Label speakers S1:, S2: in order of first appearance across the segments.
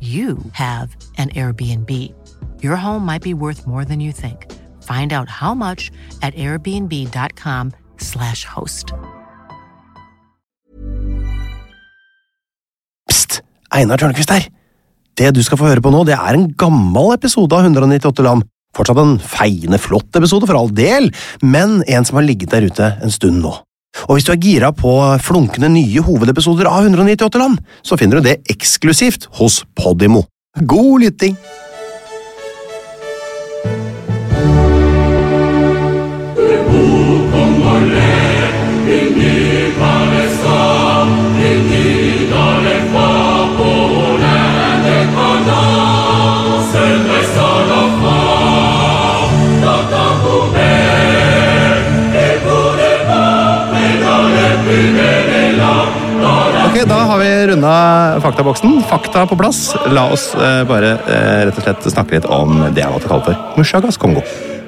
S1: you have an Airbnb. Your home might be worth more than you think. Find out how much at airbnb.com/slash host.
S2: Pst! Einar Tørnquist her. Det du skal få høre på nå, det er en gammel episode av 198 land. Fortsatt en feiende flott episode, for all del, men en som har ligget der ute en stund nå. Og hvis du er gira på flunkende nye hovedepisoder av 198 land, så finner du det eksklusivt hos Podimo. God lytting! Ok, Da har vi runda faktaboksen. Fakta på plass. La oss eh, bare eh, rett og slett snakke litt om det jeg måtte kalle for Mushagas Kongo.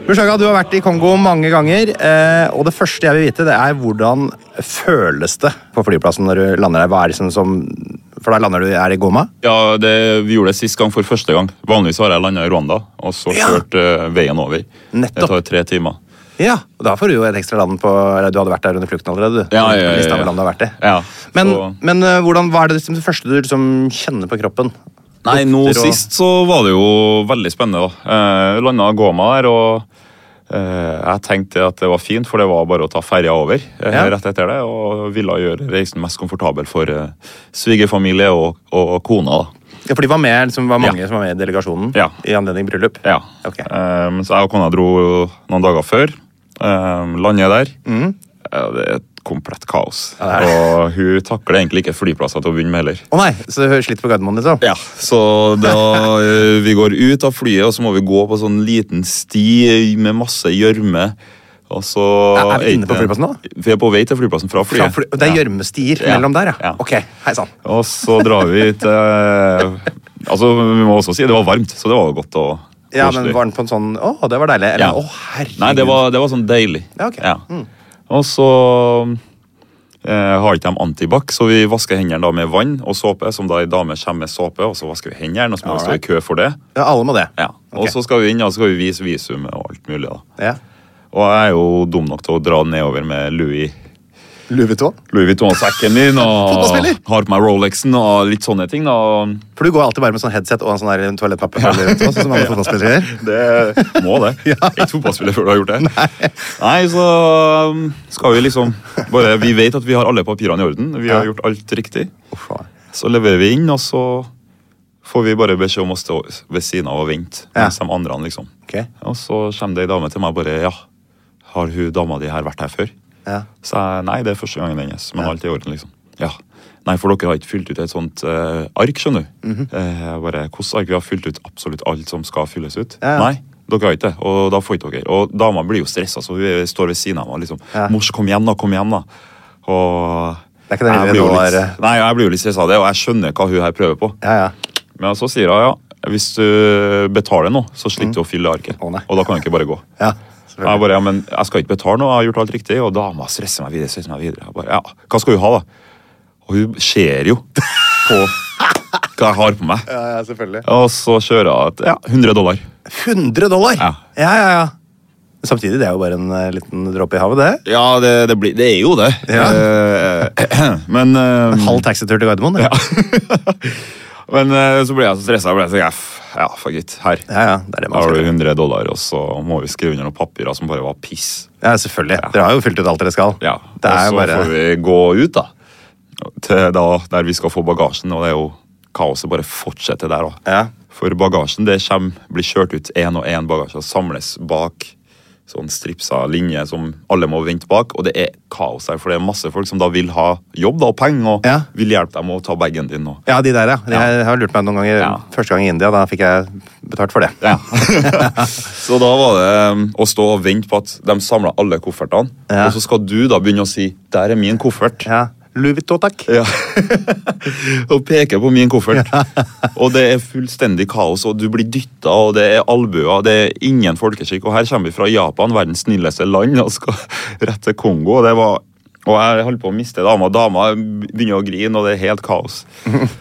S2: Mushaga, Du har vært i Kongo mange ganger, eh, og det første jeg vil vite, det er hvordan føles det på flyplassen når du lander der? Hva er det som, som For der lander du er det i Goma?
S3: Ja, det, vi gjorde det sist gang for første gang. Vanligvis har jeg landa i Rwanda og så
S2: Ja.
S3: kjørt eh, veien over.
S2: Nettopp.
S3: Det tar tre timer.
S2: Ja, og Da får du jo et ekstra land på eller Du hadde vært der under flukten allerede, du.
S3: Ja, ja, ja, ja.
S2: Lista over land du har vært i.
S3: Ja,
S2: men
S3: så-
S2: men eh, hvordan, hva er det liksom det første du liksom kjenner på kroppen?
S3: Nei, nå
S2: Lukter og-
S3: sist så var det jo veldig spennende. da. Eh, Landa Goma der, og eh, jeg tenkte at det var fint, for det var bare å ta ferja over eh,
S2: Ja.
S3: rett etter det. Og ville gjøre reisen mest komfortabel for eh, svigerfamilie og, og kona. da.
S2: Ja, for de var med, liksom, var mange
S3: Ja.
S2: som var med i delegasjonen
S3: Ja.
S2: i anledning bryllup?
S3: Ja.
S2: Ok.
S3: Ehm, så jeg og kona dro noen dager før. Um, Lander der. Ja, det er et komplett kaos.
S2: Ja, det er det.
S3: Og hun takler egentlig ikke flyplasser til å begynne med heller.
S2: Å nei, så du sliter på Gardermoen, liksom?
S3: Ja, så da eh, vi går ut av flyet, og så må vi gå på sånn liten sti med masse gjørme. Og så
S2: Er- er vi inne på flyplassen nå?
S3: Vi er på vei til flyplassen fra
S2: Fra
S3: flyet.
S2: fly- Det er
S3: Ja.
S2: gjørmestier
S3: Ja.
S2: mellom der, ja?
S3: Ja.
S2: Ok, hei sann.
S3: Og så drar vi til Altså, vi må også si det var varmt, så det var jo godt og
S2: Ja, men
S3: koselig.
S2: var den på en sånn Å, det var deilig.
S3: Ja.
S2: Eller å, herregud.
S3: Nei, det var, det var sånn deilig.
S2: Ja, ok. Mm.
S3: Og så eh, har ikke de antibac, så vi vasker hendene da med vann og såpe. Som da ei dame kommer med såpe, og så vasker vi hendene, og så må vi stå
S2: Alright.
S3: i kø for det.
S2: Ja, alle må det.
S3: Ja.
S2: Ok.
S3: Og så skal vi inn, og så skal vi vise visum og alt mulig. da.
S2: ja.
S3: Og jeg er jo dum nok til å dra nedover med Louis
S2: Louis Vuitton.
S3: Louis Vuitton-sekken min og
S2: Fotballspiller!
S3: har på meg Rolexen og litt sånne ting. da. Og
S2: For du går alltid bare med sånn headset og en sånn der toalettpappe. fra Louis Vuitton, sånn som alle fotballspillere gjør.
S3: Det må det. Ikke fotballspiller før du har gjort det. Nei, så um, skal vi liksom bare, Vi vet at vi har alle papirene i orden. Vi har
S2: Ja.
S3: gjort alt riktig.
S2: Uff, faen.
S3: Så leverer vi inn, og så får vi bare beskjed om å stå ved siden av og vente.
S2: Ja.
S3: Mens de andre, liksom.
S2: Ok.
S3: Og så kommer det ei dame til meg og bare Ja, har hun dama di her vært her før?
S2: Ja.
S3: Så jeg, nei, det er første gangen hennes, men alt er i orden, liksom. Ja. Nei, for dere har ikke fylt ut et sånt eh, ark, skjønner du.
S2: Mhm.
S3: Eh, jeg bare, Hvilket ark? Vi har fylt ut absolutt alt som skal fylles ut.
S2: Ja, ja.
S3: Nei, dere har ikke det, og da får ikke dere. Og dama blir jo stressa, så hun står ved siden av meg og liksom
S2: Ja.
S3: Mors, kom igjen, da, kom igjen, da. Og
S2: Det er ikke det
S3: jeg
S2: livet
S3: blir jo
S2: nå
S3: litt,
S2: er, eh.
S3: Nei, jeg blir jo litt stressa av det, og jeg skjønner hva hun her prøver på.
S2: Ja, ja.
S3: Men så sier hun ja, hvis du betaler nå, så slipper du å fylle arket.
S2: Mm. Å, nei.
S3: og da kan du ikke bare gå.
S2: Ja,
S3: Jeg
S2: selvfølgelig.
S3: bare, ja, men jeg skal ikke betale nå, jeg har gjort alt riktig. Og dama stresser meg videre. stresser meg videre. Jeg bare, ja, Hva skal hun ha, da? Og hun ser jo på hva jeg har på meg.
S2: Ja, ja, selvfølgelig.
S3: Og så kjører hun et ja, 100 dollar.
S2: 100 dollar!
S3: Ja.
S2: ja, ja. ja. Men Samtidig, det er jo bare en eh, liten dråpe i havet, det.
S3: Ja, det, det, blir, det er jo det. Eh, men eh,
S2: En halv taxitur til Gardermoen. det.
S3: Men eh, så ble jeg så stressa. Jeg ble så, ja, f- ja, fuck it. Her.
S2: Ja, ja, det er det
S3: Da
S2: man
S3: har
S2: skal
S3: du
S2: gjøre.
S3: 100 dollar, og så må vi skrive under noen papirer som bare var piss.
S2: Ja, selvfølgelig. Dere har jo fylt ut alt dere skal.
S3: Ja,
S2: Det
S3: Og
S2: er
S3: så
S2: jo bare...
S3: får vi gå ut, da. Til da der vi skal få bagasjen, og det er jo kaoset bare fortsetter der òg.
S2: Ja.
S3: For bagasjen det kommer, blir kjørt ut én og én bagasje og samles bak sånn stripsa linje som alle må vente bak, og det er kaos her, for det er masse folk som da vil ha jobb da, og penger, og
S2: Ja.
S3: vil hjelpe dem å ta bagen din. Og,
S2: Ja, de der, ja. Jeg
S3: Ja.
S2: har lurt meg noen ganger.
S3: Ja.
S2: Første gang i India, da fikk jeg betalt for det.
S3: Ja. så da var det um, å stå og vente på at de samla alle koffertene,
S2: Ja.
S3: og så skal du da begynne å si 'der er min koffert'.
S2: Ja. Louis Vuitton, takk.
S3: Ja. og peker på min koffert. og det er fullstendig kaos, og du blir dytta, og det er albuer, det er ingen folkeskikk. Og her kommer vi fra Japan, verdens snilleste land, og skal rett til Kongo. Og det var og jeg holdt på å miste dama. Dama begynner å grine, og det er helt kaos.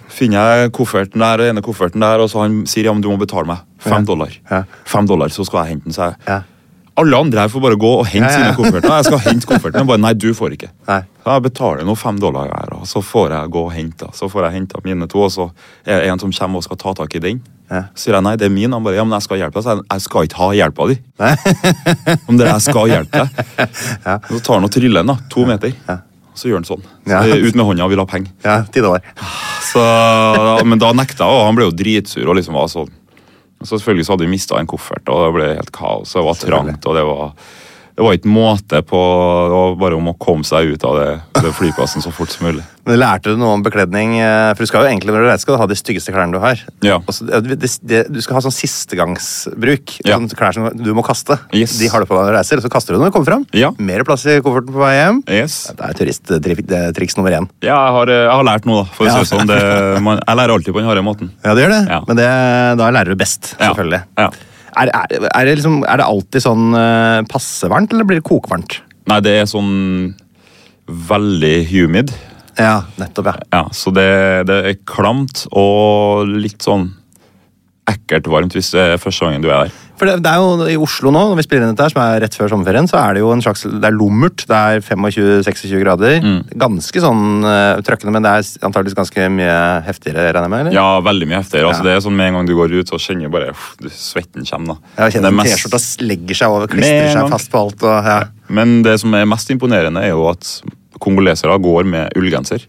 S3: Finner jeg kofferten der, og ene kofferten der, og så han sier ja, men du må betale meg. Fem dollar.
S2: Ja.
S3: Fem dollar, så skal jeg hente den, sa jeg.
S2: Ja.
S3: Alle andre her får bare gå og hente
S2: Ja, ja, ja.
S3: sine kofferter. Jeg skal hente kofferten. Jeg bare, nei, du får ikke.
S2: Nei.
S3: Så jeg betaler nå fem dollar her, og så får jeg gå og hente. Så får jeg hente mine to, og så er det en som kommer og skal ta tak i den.
S2: Ja.
S3: Så sier jeg nei, det er min. Han bare ja, men jeg skal hjelpe deg. Så jeg, jeg skal ikke ha hjelpa di. Om dere, jeg skal hjelpe deg. Og Så tar han og triller den, da. To meter. Så gjør han sånn.
S2: Ja.
S3: Så, Ut med hånda, vil ha penger.
S2: Ja, ti dollar.
S3: Så, da- men da nekta jeg, og han ble jo dritsur. og liksom var sånn. Så selvfølgelig så hadde vi mista en koffert, og det ble helt kaos. og Det var trangt, og det var, det var ikke måte på Det var bare om å komme seg ut av det, det flyplassen så fort som mulig.
S2: Men lærte du noe om bekledning? eh, For du skal jo egentlig når du reiser, skal du ha de styggeste klærne du har.
S3: Ja.
S2: Og så- ja, det, det, du skal ha sånn sistegangsbruk.
S3: Ja.
S2: Sånne klær som du må kaste.
S3: Yes.
S2: De har du på deg når du reiser, og så kaster du dem når du kommer fram.
S3: Ja.
S2: Mer plass i kofferten på vei hjem.
S3: Yes.
S2: Det er turisttriks nummer én.
S3: Ja, jeg har, eh, jeg har lært noe, da. for å si det sånn. Det, man, jeg lærer alltid på den harde måten.
S2: Ja, det gjør det.
S3: Ja.
S2: Men det, da lærer du best,
S3: Ja.
S2: selvfølgelig.
S3: Ja.
S2: Er, er, er, det liksom, er det alltid sånn eh, passe varmt, eller blir det kokvarmt?
S3: Nei, det er sånn veldig humid.
S2: Ja, nettopp, ja.
S3: Ja, Så det, det er klamt og litt sånn ekkelt varmt hvis det er første gangen du er der.
S2: For det, det er jo I Oslo nå, når vi spiller inn dette her, som er rett før sommerferien, så er det jo en slags, det er lummert. Det er 25-26 grader.
S3: Mm.
S2: Ganske sånn uh, trøkkende, men det er antakeligvis ganske mye heftigere, regner jeg med? eller?
S3: Ja, veldig mye heftigere. Altså,
S2: Ja.
S3: det er sånn Med en gang du går ut, så kjenner du bare uff, du, svetten kommer. da.
S2: Jeg
S3: Det
S2: kjenner
S3: mest-
S2: T-skjorta legger seg over, klistrer
S3: Med en
S2: seg
S3: gang.
S2: fast på alt. og ja.
S3: Men det som er mest imponerende, er jo at kongolesere går med ullgenser.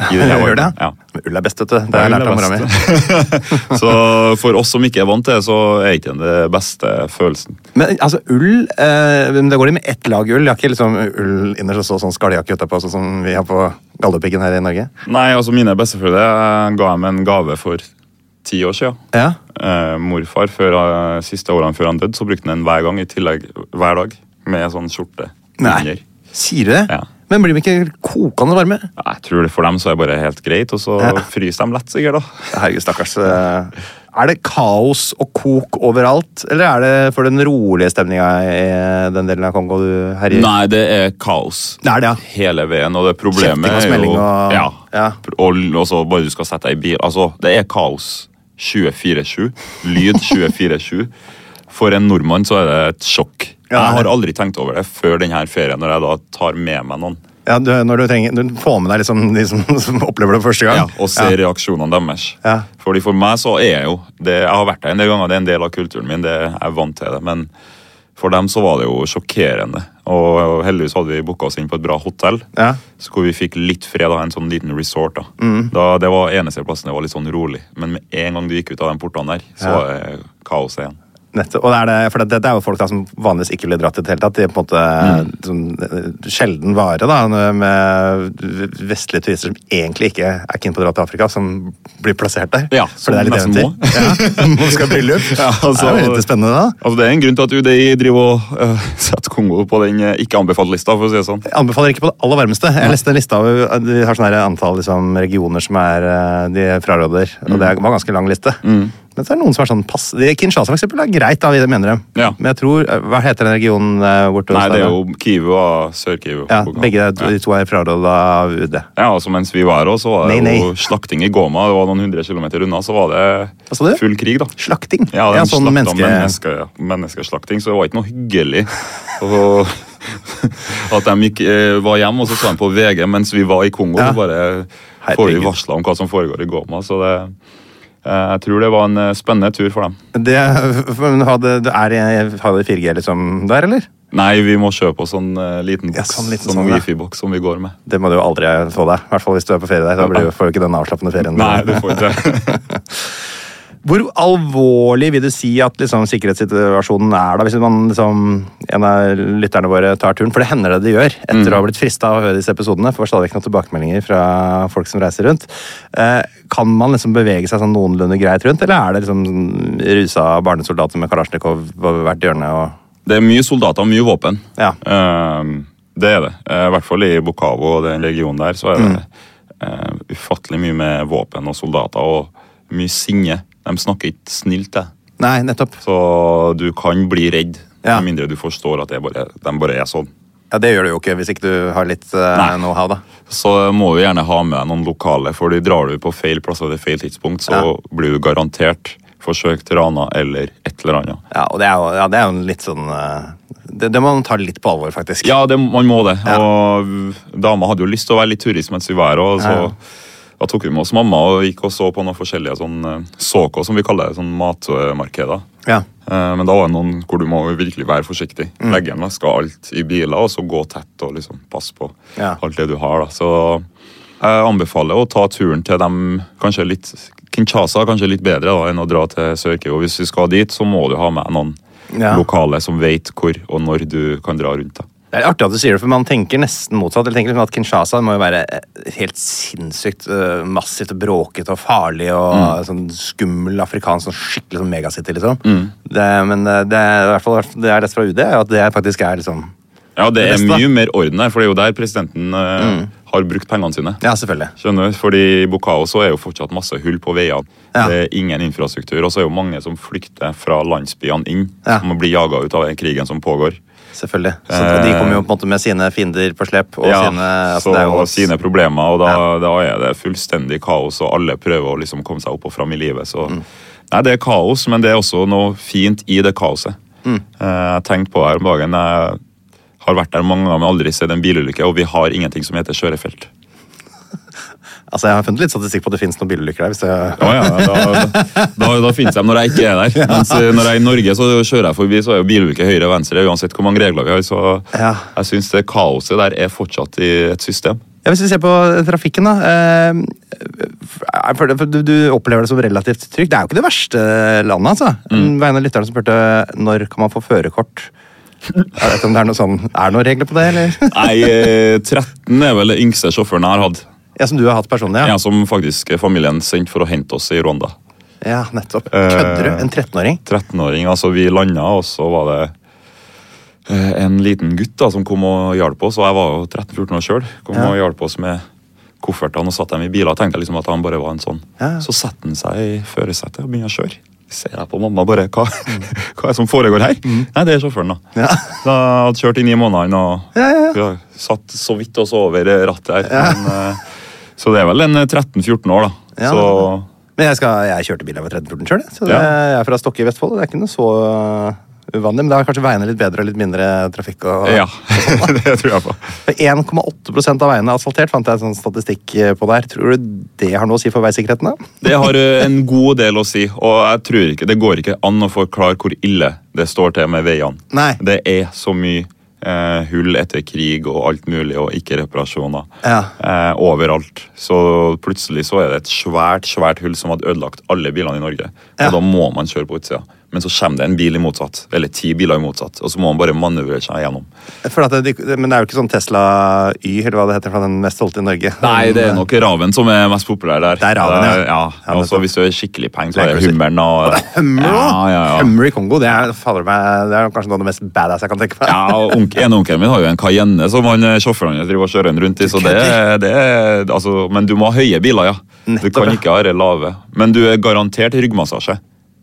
S3: i det her
S2: Gjør det?
S3: varmen. Ja.
S2: Men Ull er best, vet du. Det har jeg
S3: Ull
S2: lært
S3: er
S2: av mora mi.
S3: best. så for oss som ikke er vant til det, så er ikke det den beste følelsen.
S2: Men altså, ull eh, men Det går i med ett lag ull. Jeg har ikke liksom ull innerst og så sånn skalljakke utapå, sånn som vi har på Galdhøpiggen her i Norge.
S3: Nei, altså Mine besteforeldre eh, ga dem en gave for ti år siden.
S2: Ja.
S3: Eh, morfar, før, eh, siste årene før han døde, så brukte han den hver gang, i tillegg hver dag, med sånn skjorte
S2: Nei.
S3: under.
S2: Sier du det?
S3: Ja.
S2: Men blir de ikke kokende varme?
S3: Ja, Jeg tror det for dem så er det bare helt greit, og så fryser de lett sikkert. da.
S2: Herregud, stakkars. eh, Er det kaos og kok overalt, eller er det for den rolige stemninga i eh, den delen av Kongo du herjer?
S3: Nei, det er kaos
S2: Det er det, ja.
S3: hele veien, og det problemet
S2: Kjefting og
S3: er jo
S2: smelling og-
S3: ja,
S2: Ja.
S3: Og, og så bare du skal sette deg i bil. Altså, det er kaos 24-7. Lyd 24-7. For en nordmann så er det et sjokk.
S2: Ja.
S3: Jeg har aldri tenkt over det før denne ferien, når jeg da tar med meg noen
S2: Ja, du, når du, trenger, du får med deg liksom de som, som opplever det første gang.
S3: ja, og se reaksjonene deres.
S2: Ja.
S3: Fordi For meg så er jeg jo det, Jeg har vært der en del ganger, det er en del av kulturen min. det jeg er vant til det, Men for dem så var det jo sjokkerende. Og heldigvis hadde vi booka oss inn på et bra hotell.
S2: Ja. Mm.
S3: Så hvor vi fikk litt fred av en sånn liten resort. da. da det var eneste plassen det var litt sånn rolig. Men med en gang du gikk ut av de portene der, så var det kaos igjen.
S2: Nettopp. Og det er det, for dette er jo folk da som vanligvis ikke ville dratt i det hele tatt. De er på en måte
S3: Mm.
S2: sånn, eh, sjelden vare da, med vestlige turister som egentlig ikke er keen på å dra til Afrika, som blir plassert der.
S3: Ja,
S2: for det er litt
S3: som nesten må.
S2: eventyr. Ja, man skal ha bryllup.
S3: Ja, altså-
S2: det er jo litt spennende da.
S3: Altså, det er en grunn til at UDI driver og eh, setter Kongo på den eh, ikke-anbefalt-lista. for å si det sånn.
S2: Jeg anbefaler ikke på det aller varmeste. Jeg leste en liste av de har sånn her antall liksom, regioner som er, eh, de fraråder.
S3: Mm.
S2: Og det er- var en ganske lang liste. Men så er det noen som er sånn pass. de- Kinshasa for eksempel er greit, da, mener de.
S3: Ja.
S2: Men jeg tror eh, Hva heter den regionen eh, borte
S3: Nei,
S2: hos deg
S3: det er
S2: da?
S3: jo Kivu og Sør-Kivu.
S2: Ja, begge de to er fraråda av UD.
S3: Ja, altså Mens vi var her, også, så var det
S2: Nei,
S3: jo
S2: nei.
S3: slakting i Goma. Det var noen hundre kilometer unna, så var
S2: Hva sa du?
S3: det full krig, da.
S2: Slakting.
S3: Ja, de
S2: Ja, sånn
S3: slakta
S2: menneske-
S3: menneske- menneskeslakting, så det var ikke noe hyggelig. Og at de gikk, eh, var hjemme, og så så de på VG mens vi var i Kongo.
S2: Ja.
S3: Så bare får vi
S2: Herregud.
S3: varsler om hva som foregår i Goma. Så det, eh, jeg tror det var en eh, spennende tur for dem.
S2: Det, men hadde, det er, hadde 4G liksom der, eller?
S3: Nei, vi må kjøpe oss sånn eh, liten boks,
S2: Ja, sånn
S3: sånn,
S2: liten sånn, ja.
S3: wifi-boks som vi går med.
S2: Det må du jo aldri få deg. I hvert fall hvis du er på ferie der. Da blir du, får du ikke den avslappende ferien.
S3: Nei, du får ikke
S2: Hvor alvorlig vil du si at liksom, sikkerhetssituasjonen er da, hvis man, liksom, en av lytterne våre tar turen? For det hender det de gjør etter å ha blitt frista av å høre disse episodene. Får stadig vekk noen tilbakemeldinger fra folk som reiser rundt. Eh, kan man liksom bevege seg sånn noenlunde greit rundt, eller er det liksom rusa barnesoldater med Kalasjnikov over hvert hjørne? og...
S3: Det er mye soldater og mye våpen.
S2: Ja.
S3: Eh, det er det. Eh, I hvert fall i Bukavo og den regionen der, så er det
S2: Mm.
S3: eh, ufattelig mye med våpen og soldater og mye sinne. De snakker ikke snilt, det.
S2: Nei, nettopp.
S3: Så du kan bli redd,
S2: Ja.
S3: med mindre du forstår at det bare, de bare er sånn.
S2: Ja, Det gjør du jo ikke hvis ikke du har litt uh,
S3: Nei.
S2: know-how, da.
S3: Så må du gjerne ha med deg noen lokale, for de drar du på feil plass og til feil tidspunkt, så
S2: Ja.
S3: blir du garantert forsøkt rana eller et eller annet.
S2: Ja, og det er jo, ja, det er jo en litt sånn eh, det, det må man ta litt på alvor, faktisk.
S3: Ja, det, man må det.
S2: Ja.
S3: Og dama hadde jo lyst til å være litt turist mens vi var her. Og så da tok vi med oss mamma og gikk og så på noen forskjellige sånn eh, såko, som vi kaller det, sånn matmarkeder.
S2: Ja.
S3: Eh, Men da var det noen hvor du må virkelig være forsiktig.
S2: Mm.
S3: Legge igjen veska og alt i biler, og så gå tett og liksom passe på
S2: Ja.
S3: alt det du har. da. Så jeg anbefaler å ta turen til dem kanskje litt Kinshasa er kanskje litt bedre da, enn å dra til Sør-Kivu. Hvis du skal dit, så må du ha med noen
S2: Ja.
S3: lokale som vet hvor og når du kan dra rundt. da.
S2: Det er artig at du sier det, for man tenker nesten motsatt. Jeg tenker liksom at Kinshasa må jo være eh, helt sinnssykt eh, massivt og bråkete og farlig og
S3: Mm.
S2: sånn skummel afrikansk, sånn skikkelig sånn megacity, liksom.
S3: Mm.
S2: Det, men eh, det er i hvert fall det jeg leste fra UD, er jo at det faktisk er liksom
S3: Ja, det
S2: Det
S3: er
S2: beste, da. Mm.
S3: mye mer orden her, for det er jo der presidenten eh, har brukt pengene sine.
S2: Ja, selvfølgelig.
S3: Skjønner, fordi I Bukao så er jo fortsatt masse hull på veiene.
S2: Ja.
S3: Det er ingen infrastruktur, og så er jo mange som flykter fra landsbyene inn.
S2: Ja.
S3: Som blir jaga ut av den krigen som pågår.
S2: selvfølgelig. Så, og de kommer jo på en måte med sine fiender på slep og
S3: Eh. Ja,
S2: sine
S3: så,
S2: altså, det er jo-
S3: sine problemer, og da, da er det fullstendig kaos, og alle prøver å liksom komme seg opp og fram i livet. Så.
S2: Mm.
S3: Nei, det er kaos, men det er også noe fint i det kaoset.
S2: Mm.
S3: Eh, Jeg tenkte på det her om dagen. Jeg har vært der mange ganger, men aldri sett en bilulykke, og vi har ingenting som heter kjørefelt.
S2: Altså, Jeg har funnet litt statistikk på at det finnes noen bilulykker der. hvis det...
S3: Ja, ja, da, da, da finnes de når jeg ikke er der. Mens eh, når jeg er i Norge, så kjører jeg forbi, så er jo bilulykke høyre og venstre uansett hvor mange regler vi har. Så
S2: Ja.
S3: jeg syns det kaoset der er fortsatt i et system.
S2: Ja, Hvis vi ser på trafikken, da. eh, for- for Du, du opplever det som relativt trygt. Det er jo ikke det verste landet, altså. Mm. Det var en av lytterne som spurte når kan man få førerkort. Jeg vet ikke om det er noe sånn, er det noen regler på det, eller?
S3: Nei, eh, 13 er vel det yngste sjåføren jeg har hatt.
S2: Ja, Som du har hatt personlig? Ja,
S3: Ja, som faktisk familien sendte for å hente oss i Rwanda.
S2: ja nettopp. Kødder
S3: Eh,
S2: du? En 13-åring?
S3: 13-åring, altså vi landa, og så var det eh, en liten gutt da, som kom og hjalp oss. Og jeg var jo 13-14 år sjøl. Kom
S2: Ja.
S3: og hjalp oss med koffertene og satte dem i biler. Tenkte jeg liksom at han bare var en sånn.
S2: Ja.
S3: Så setter han seg i førersetet og begynner å kjøre. Ser jeg på mamma bare Hva, hva er det som foregår her? Nei, det er sjåføren, da.
S2: Mm. Ja.
S3: Da hadde kjørt i ni måneder og
S2: Ja, ja, ja.
S3: vi har satt så vidt oss over rattet her. Men, eh, så det er vel en eh, 13-14 år, da.
S2: Ja,
S3: så
S2: Men jeg, skal, jeg kjørte bil da jeg var 13-14 sjøl. Så det,
S3: Ja.
S2: jeg er fra Stokke i Vestfold. og Det er ikke noe så uvanlig. Men det er kanskje veiene litt bedre og litt mindre trafikk. Og,
S3: Ja, det tror jeg på.
S2: For 1,8 av veiene er asfaltert, fant jeg en sånn statistikk eh, på der. Tror du det har noe å si for veisikkerheten? da?
S3: Det har eh, en god del å si, og jeg tror ikke, det går ikke an å forklare hvor ille det står til med veiene.
S2: Nei.
S3: Det er så mye eh, hull etter krig og alt mulig, og ikke reparasjoner
S2: Ja.
S3: eh, overalt. Så plutselig så er det et svært, svært hull som hadde ødelagt alle bilene i Norge.
S2: Ja.
S3: Og da må man kjøre på utsida. men så kommer det en bil i motsatt, eller ti biler i motsatt, og så må man bare manøvrere seg gjennom.
S2: For at det, men det er jo ikke sånn Tesla Y, eller hva det heter, fra den mest solgte i Norge.
S3: Nei, det er nok Raven som er mest populær der.
S2: Mm. Det er Raven, ja.
S3: Eh, ja.
S2: Ja,
S3: Og så
S2: nettopp.
S3: hvis du har skikkelig penger, så er det
S2: Land Cruiser.
S3: Hummeren og
S2: Hummer, da!
S3: Ja, ja, ja.
S2: Hummer i Kongo, det er, fader meg, det er kanskje noe av det mest badass jeg kan tenke meg.
S3: Ja, og onk, en onkelen min har jo en Cayenne som han eh, sjåføren hans driver og kjører den rundt i. så det, det er, altså, Men du må ha høye biler, ja. Du
S2: Nettopp,
S3: kan
S2: ja.
S3: ikke ha det lave. Men du er garantert ryggmassasje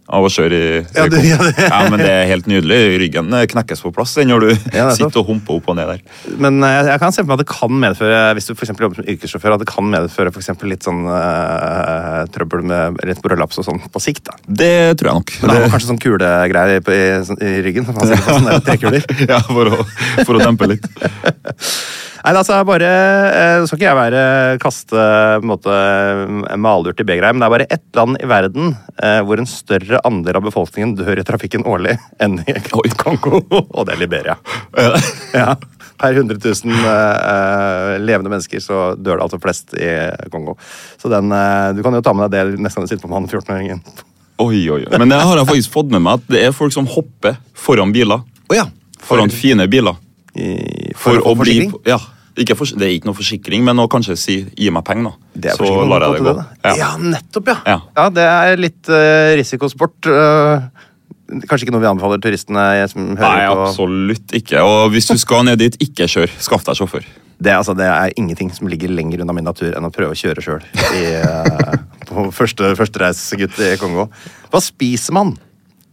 S3: av å kjøre i
S2: Ja, du- ja, det-
S3: ja, men det er helt nydelig. Ryggen eh, knekkes på plass den, når du
S2: Ja, nettopp.
S3: sitter og humper opp og ned der.
S2: Men eh, jeg, jeg kan se for meg at det kan medføre hvis du for eksempel jobber som yrkessjåfør, at det kan medføre for eksempel litt sånn eh, trøbbel med litt brøllaps og sånn på sikt. da.
S3: Det tror jeg nok.
S2: Men det er jo kanskje sånn kulegreier på- i, sånn- i ryggen. Man sitter på sånne trekuler.
S3: ja, for å, for å dempe litt.
S2: Nei, altså, jeg bare, eh, skal ikke jeg være kaste på en måte, malurt i begeret, her, men det er bare ett land i verden eh, hvor en større andel av befolkningen dør i trafikken årlig enn i Kongo, og det er Liberia.
S3: Eh,
S2: Ja. Per 100 000 eh, eh, levende mennesker så dør det altså flest i Kongo. Så den, eh, du kan jo ta med deg det neste gang du sitter på med han 14-åringen.
S3: Oi, oi, oi. Men det har jeg faktisk fått med meg at det er folk som hopper foran biler. Foran fine biler.
S2: I-
S3: For, å,
S2: få
S3: bli
S2: forsikring.
S3: ja, ikke fors- Det er ikke noe forsikring, men å kanskje si 'gi meg penger',
S2: Det
S3: da.
S2: er
S3: Så
S2: forsikring,
S3: lar
S2: på
S3: jeg
S2: en
S3: det gå.
S2: måte,
S3: Ja.
S2: det, da. Ja, nettopp, ja.
S3: Ja.
S2: det er litt eh, risikosport. eh, kanskje ikke noe vi anbefaler turistene jeg som
S3: Nei,
S2: hører på.
S3: absolutt ikke. Og hvis du skal ned dit, ikke kjør. Skaff deg sjåfør.
S2: Det, er- altså, det er ingenting som ligger lenger unna min natur enn å prøve å kjøre sjøl uh, på første førstereisgutt i Kongo. Hva spiser man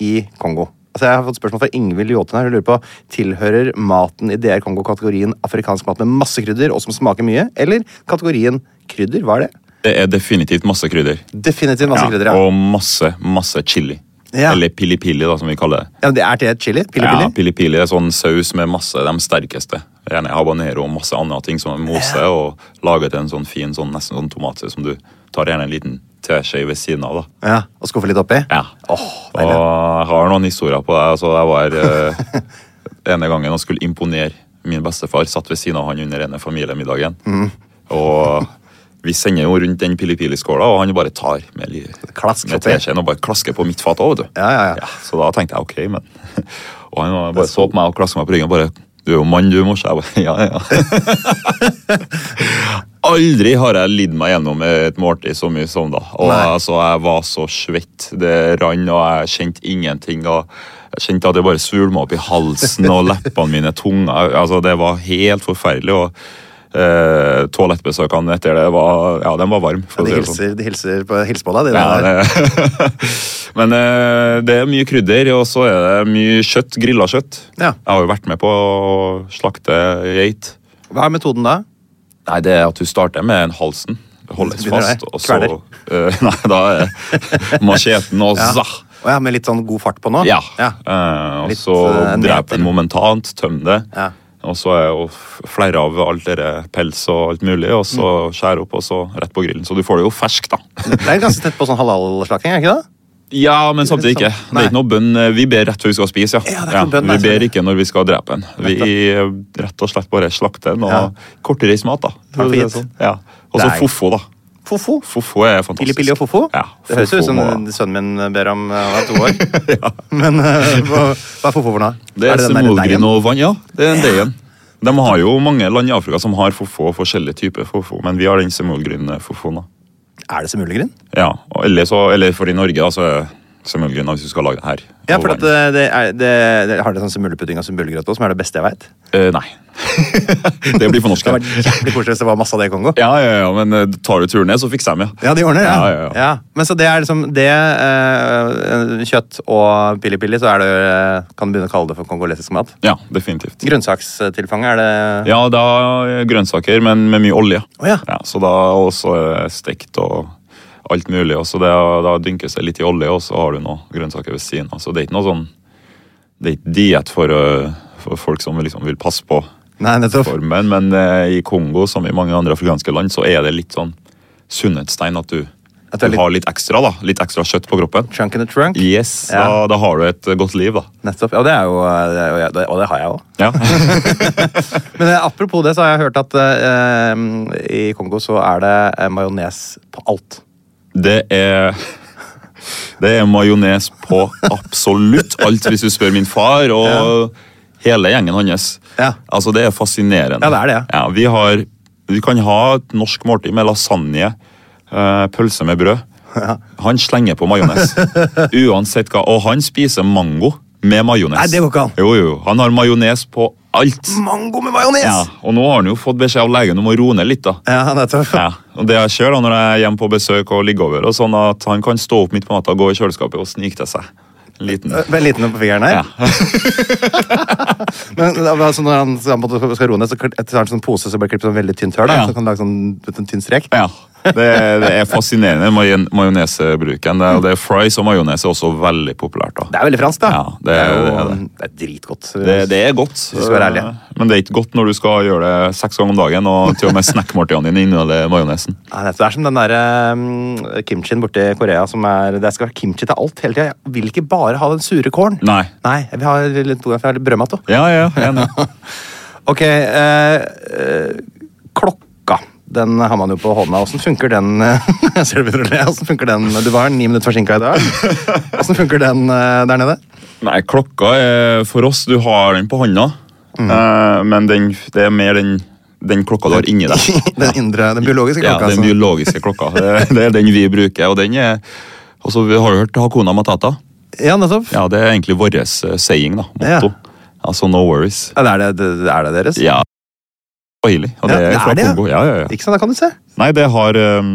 S2: i Kongo? Altså, jeg har fått spørsmål fra Ingvild Jåten her. Hun lurer på tilhører maten i DR Kongo kategorien afrikansk mat med masse krydder og som smaker mye, eller kategorien krydder? Hva er det?
S3: Det er definitivt masse krydder.
S2: Definitivt masse krydder, ja.
S3: Og masse, masse chili.
S2: Ja.
S3: Eller pili-pili, da, som vi kaller det.
S2: ja. men Det er til chili?
S3: Ja,
S2: Pili-pili?
S3: pili-pili er sånn saus med masse de sterkeste. Gjerne habanero og masse andre ting som er mose og laget til en sånn fin, sånn, nesten sånn tomatsaus som du tar gjerne en liten teskje ved siden av. da.
S2: Ja, Og skuffe litt oppi?
S3: Ja.
S2: Åh,
S3: og jeg har noen historier på det. Altså, jeg var eh, ene gangen og skulle imponere min bestefar. Satt ved siden av han under denne familiemiddagen.
S2: Mm.
S3: Og vi sender jo rundt den pili-pili-skåla, og han bare tar med, li-
S2: Klask
S3: med
S2: oppi.
S3: teskjeen og bare klasker på mitt fat òg, vet du.
S2: Ja, ja, ja.
S3: så da tenkte jeg ok, men Og han var- bare så på meg og klaska meg på ryggen og bare Du er jo mann, du, mors. Jeg bare ja, ja. Aldri har jeg lidd meg gjennom et måltid så mye som da. Og
S2: Nei.
S3: altså, Jeg var så svett. Det rant, og jeg kjente ingenting. og Jeg kjente at det bare svulma opp i halsen og leppene mine, tunga altså, Det var helt forferdelig. og eh, Toalettbesøkene etter det var, ja, de var varme. for å
S2: De
S3: si det sånn.
S2: hilser, de hilser på, hilser på deg, de
S3: Ja,
S2: der.
S3: det. Men eh, det er mye krydder, og så er det mye kjøtt, grilla kjøtt.
S2: Ja.
S3: Jeg har jo vært med på å slakte geit.
S2: Hva er metoden da?
S3: Nei, det er at du starter med en halsen. Holdes
S2: Begynner
S3: fast,
S2: der.
S3: og så eh, Nei, da er macheten og
S2: Ja.
S3: zah!
S2: Å ja, med litt sånn god fart på nå?
S3: Ja.
S2: ja.
S3: Eh, og
S2: Litt,
S3: så
S2: eh,
S3: dreper
S2: nedtur.
S3: den momentant, tømmer det.
S2: Ja.
S3: Og så er jo f- flere av alt dere pels og alt mulig, og så skjære opp, og så rett på grillen. Så du får det jo ferskt, da.
S2: Mm. Det er ganske tett på sånn halal-slakting, er det ikke det?
S3: Ja, men samtidig ikke. Det
S2: Nei.
S3: er ikke noe bønn. Vi ber rett før vi skal spise. ja.
S2: Ja, det er ikke noe bønn, nei,
S3: vi ber
S2: sorry.
S3: ikke når vi skal drepe en. Vi eh, rett og slett bare slakter en og
S2: Ja.
S3: kortreist mat. da.
S2: Takk for
S3: Det er
S2: gitt.
S3: Ja. Og så
S2: Nei.
S3: fofo, da.
S2: Fofo.
S3: Fofo er fantastisk.
S2: Pili-pili og fofo?
S3: Ja,
S2: det høres
S3: fofo
S2: jo ut som
S3: må-
S2: sønnen min ber om eh, å være to år. Men eh, hva, hva er fofo for noe?
S3: Det er,
S2: den der
S3: smulgrin
S2: deigen?
S3: og vann, ja. Det er en deigen. De har jo mange land i Afrika som har fofo og forskjellige typer fofo, men vi har den semulgrin-fofoen. da.
S2: Er det semulgryn?
S3: Ja, og eller, så, eller for i Norge, da, så er semulgrin hvis du skal lage det her.
S2: Ja,
S3: Og
S2: for
S3: vann.
S2: at eh, det, det er, det, det har det sånn semulpudding og semulgrøt også, som er det beste jeg veit.
S3: Eh, nei. det blir for norsk.
S2: Det hadde vært jævlig koselig hvis det var masse av det i Kongo.
S3: Ja, ja, ja, men eh, tar du turen ned, så fikser jeg dem, ja.
S2: Ja, de ordner det.
S3: Ja, ja, ja.
S2: Men så det er liksom det eh, Kjøtt og pili-pili, så er det, eh, kan du begynne å kalle det for kongolesisk mat.
S3: Ja, definitivt.
S2: Grønnsakstilfanget, er det
S3: Ja, da eh, grønnsaker, men med mye olje.
S2: Å, ja.
S3: så da også eh, stekt og alt mulig. Og så det, da dynkes det litt i olje, og så har du noe grønnsaker ved siden av. Så det er ikke noe sånn Det er ikke diett for, eh, for folk som liksom vil passe på
S2: Nei, nettopp.
S3: formen, men eh, i Kongo, som i mange andre afrikanske land, så er det litt sånn sunnhetstegn at du,
S2: At det er
S3: du har litt ekstra, da. Litt ekstra kjøtt på kroppen.
S2: Chunk in the trunk.
S3: Yes,
S2: Ja.
S3: da, da har du et eh, godt liv, da.
S2: Nettopp. Ja, det er jo det er jo- ja, det- Og det har jeg òg.
S3: Ja.
S2: Men eh, apropos det, så har jeg hørt at eh, i Kongo så er det eh, majones på alt.
S3: Det er Det er majones på absolutt alt, hvis du spør min far og hele gjengen hans.
S2: Ja.
S3: Altså, Det er fascinerende.
S2: Ja, det er det, ja.
S3: Ja, vi, har, vi kan ha et norsk måltid med lasagne, eh, pølse med brød. Han slenger på majones. Uansett hva. Og han spiser mango med majones.
S2: Nei, det går ikke an.
S3: Jo, jo. Han har majones på alt.
S2: Mango med majones!
S3: Ja, og nå har han jo fått beskjed av legen om å roe ned litt, da.
S2: Ja, nettopp.
S3: Ja, og det jeg ser da når jeg er hjemme på besøk og ligger over, og sånn at han kan stå opp midt på natta og gå i kjøleskapet og snike til seg. En liten...
S2: Med en liten på fingeren her.
S3: Ja.
S2: Men altså, når han skal, på en måte skal roe ned, så kl- etter han sånn pose, så blir det klippet sånn veldig tynt hør. da.
S3: Ja.
S2: Så kan du lage sånn vet, du, en tynn strek.
S3: ja. Det, det er fascinerende, majon- majonesebruken. Det, og det er fries og majones er også veldig populært. da.
S2: Det er veldig fransk, da.
S3: Ja, det er-
S2: jo,
S3: det er
S2: det er dritgodt.
S3: Det, det er godt,
S2: Vi skal være ærlige.
S3: eh, men det er ikke godt når du skal gjøre det seks ganger om dagen, og til og med snackmåltidene dine inneholder majonesen.
S2: Nei, nettopp. det er som den der um, kimchien borte i Korea. som er, Det skal være kimchi til alt hele tida. Jeg vil ikke bare ha den sure kålen.
S3: Nei.
S2: Nei, jeg vil ha litt, jeg vil ha litt brødmat òg.
S3: Ja, ja, enig.
S2: Ok, eh, eh, klokka. Den har man jo på hånda. Åssen funker den eh, Jeg ser du begynner å le. Hvordan funker den? Du var ni minutter forsinka i dag. Åssen funker den eh, der nede?
S3: Nei, klokka er for oss Du har den på hånda, eh, men den, det er mer den, den klokka du har inni deg.
S2: Den indre, den biologiske klokka.
S3: Ja, den
S2: altså.
S3: biologiske klokka. Det, det er den vi bruker, og den er altså, vi Har du hørt Hakuna Matata?
S2: ja nettopp. Ja.
S3: Ja, det er egentlig vår eh, saying, da. Motto. Altså no worries.
S2: det er, det, det, er det deres?
S3: Ja. Swahili, Og det
S2: Ja, det
S3: er
S2: er
S3: fra
S2: det, ja.
S3: Kongo. Ja, ja, ja.
S2: Ikke sant, da kan du se.
S3: Nei, det har, um,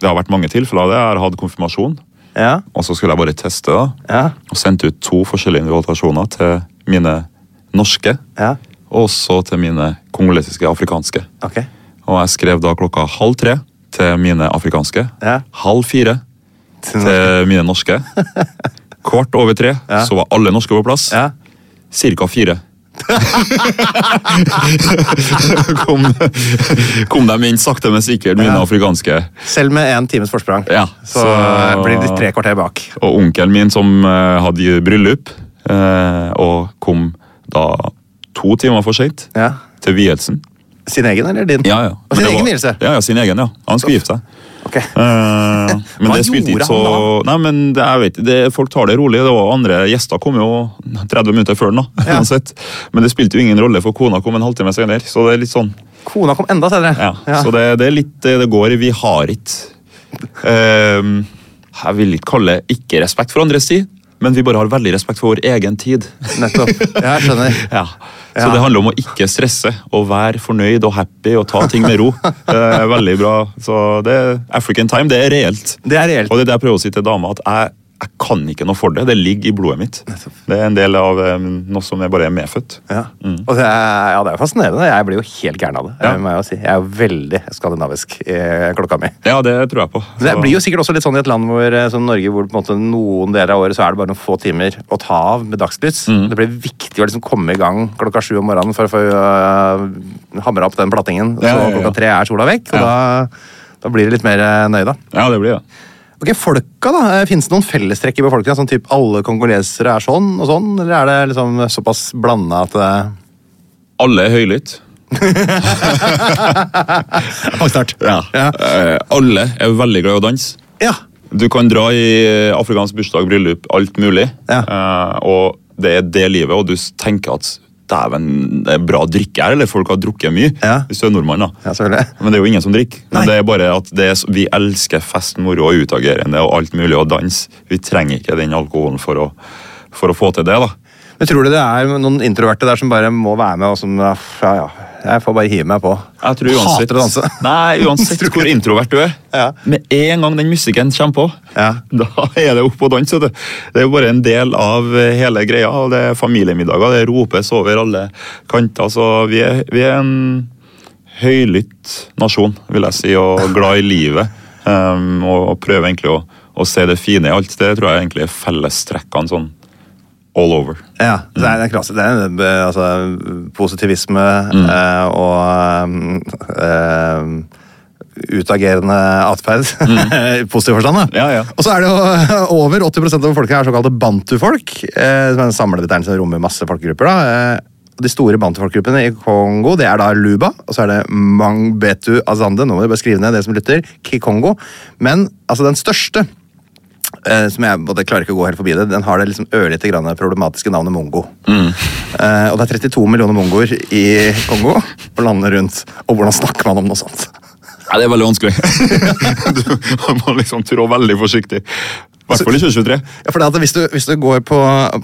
S3: det har vært mange tilfeller av det. Jeg har hatt konfirmasjon,
S2: Ja,
S3: og så skulle jeg bare teste, da.
S2: ja,
S3: Og sendte ut to forskjellige invitasjoner til mine norske,
S2: ja.
S3: og også til mine kongolesiske afrikanske.
S2: Ok.
S3: Og jeg skrev da klokka halv tre til mine afrikanske.
S2: Ja.
S3: Halv fire til mine norske. Kvart over tre
S2: Ja.
S3: så var alle norske på plass.
S2: Ja.
S3: Cirka fire. kom, kom de inn sakte, men sikkert, mine
S2: Ja.
S3: afrikanske.
S2: Selv med én times forsprang,
S3: Ja,
S2: så,
S3: så-
S2: blir de tre kvarter bak.
S3: Og onkelen min som eh, hadde bryllup, eh, og kom da to timer for seint
S2: Ja.
S3: til vielsen.
S2: Sin egen eller din?
S3: Ja, ja.
S2: Og
S3: Men
S2: sin
S3: det
S2: egen
S3: var-
S2: vielse?
S3: Ja, ja, sin egen, ja. Han skulle gifte seg.
S2: Ok.
S3: Eh, men
S2: Hva
S3: det spilte
S2: gjorde
S3: ikke så Nei, men det, jeg vet, ikke, det, Folk tar det rolig. Det var andre gjester kom jo 30 minutter før den. da,
S2: Ja.
S3: uansett. Men det spilte jo ingen rolle, for kona kom en halvtime senere. Så det er litt sånn,
S2: Kona kom enda senere.
S3: ja.
S2: Ja.
S3: Så det, det er litt det det går i. Vi har ikke eh, Jeg vil ikke kalle det ikke respekt for andres tid, men vi bare har veldig respekt for vår egen tid.
S2: Nettopp. Ja, jeg skjønner.
S3: Ja. Så
S2: Ja.
S3: det handler om å ikke stresse, og være fornøyd og happy og ta ting med ro. Det er veldig bra. Så det, African time, det er reelt.
S2: Det er reelt.
S3: Og det er det jeg prøver å si til dama, at jeg, jeg kan ikke noe for det. Det ligger i blodet mitt. Det er en del av eh, noe som jeg bare er medfødt.
S2: Ja. Og det er, ja, det er jo fascinerende. Jeg blir jo helt gæren av det.
S3: Mm. Ja.
S2: Jeg, må jo si. jeg er jo veldig skandinavisk i klokka mi.
S3: Ja, det tror jeg på.
S2: Men Det blir jo sikkert også litt sånn i et land hvor, eh, som Norge hvor på en måte noen deler av året så er det bare noen få timer å ta av med dagslys.
S3: Mm.
S2: Det blir viktig å liksom komme i gang klokka sju om morgenen for å få øh, hamra opp den plattingen.
S3: Ja, ja,
S2: så
S3: ja.
S2: klokka tre er sola vekk, og da, da blir det litt mer eh, nøye, da.
S3: Ja, det blir det.
S2: Ok, folka da, Fins det noen fellestrekk i befolkninga? Sånn typ alle kongolesere er sånn og sånn? Eller er det liksom såpass blanda at eh, det
S3: Alle er høylytte.
S2: Pangstart.
S3: Ja. Eh, Alle er veldig glad i å danse.
S2: Ja.
S3: Du kan dra i eh, afrikansk bursdag, bryllup, alt mulig.
S2: Ja.
S3: Eh, og det er det livet, og du s- tenker at dæven, det er bra drikke her, eller folk har drukket mye.
S2: Ja.
S3: Hvis du er nordmann, da.
S2: Ja, selvfølgelig.
S3: Men det er jo ingen som drikker.
S2: Nei.
S3: Men det er bare at det er, s- vi elsker fest, moro og utagerende og alt mulig, og dans. Vi trenger ikke den alkoholen for å, for å få til det, da.
S2: Men tror du det er noen introverte der som bare må være med og som Ja, ja, jeg får bare hive meg på.
S3: Jeg tror uansett,
S2: Hater å danse.
S3: Nei, uansett hvor introvert du er,
S2: Ja.
S3: med en gang den musikken kommer på,
S2: Ja.
S3: da er det opp og dans. vet du. Det er jo bare en del av eh, hele greia. og Det er familiemiddager, det ropes over alle kanter. Så vi er, vi er en høylytt nasjon, vil jeg si, og glad i livet. Um, og, og prøver egentlig å, å se det fine i alt. Det tror jeg egentlig er fellestrekkene sånn all over.
S2: Ja, så det er, det er, klasse, det er eh, altså, positivisme
S3: Mm.
S2: eh, og eh, utagerende atferd. I positiv forstand, da.
S3: Mm. Ja, ja.
S2: Og så er det jo over 80 av folket er såkalte bantu-folk. Eh, som er en samlebetegnelse som rommer masse folkegrupper. da. Eh, og de store bantu-folkgruppene i Kongo det er da Luba, og så er det Mangbetu Azande. Nå må du bare skrive ned det som lytter. Kikongo. Men altså, den største eh, som jeg både klarer ikke å gå helt forbi det, den har det liksom ørlite grann problematiske navnet mongo. Eh, og det er 32 millioner mongoer i Kongo og landene rundt. Og hvordan snakker man om noe sånt?
S3: Ja, det er veldig vanskelig. du man må liksom trå veldig forsiktig. I hvert fall i 2023.
S2: Ja, for det at hvis, du, hvis du går på,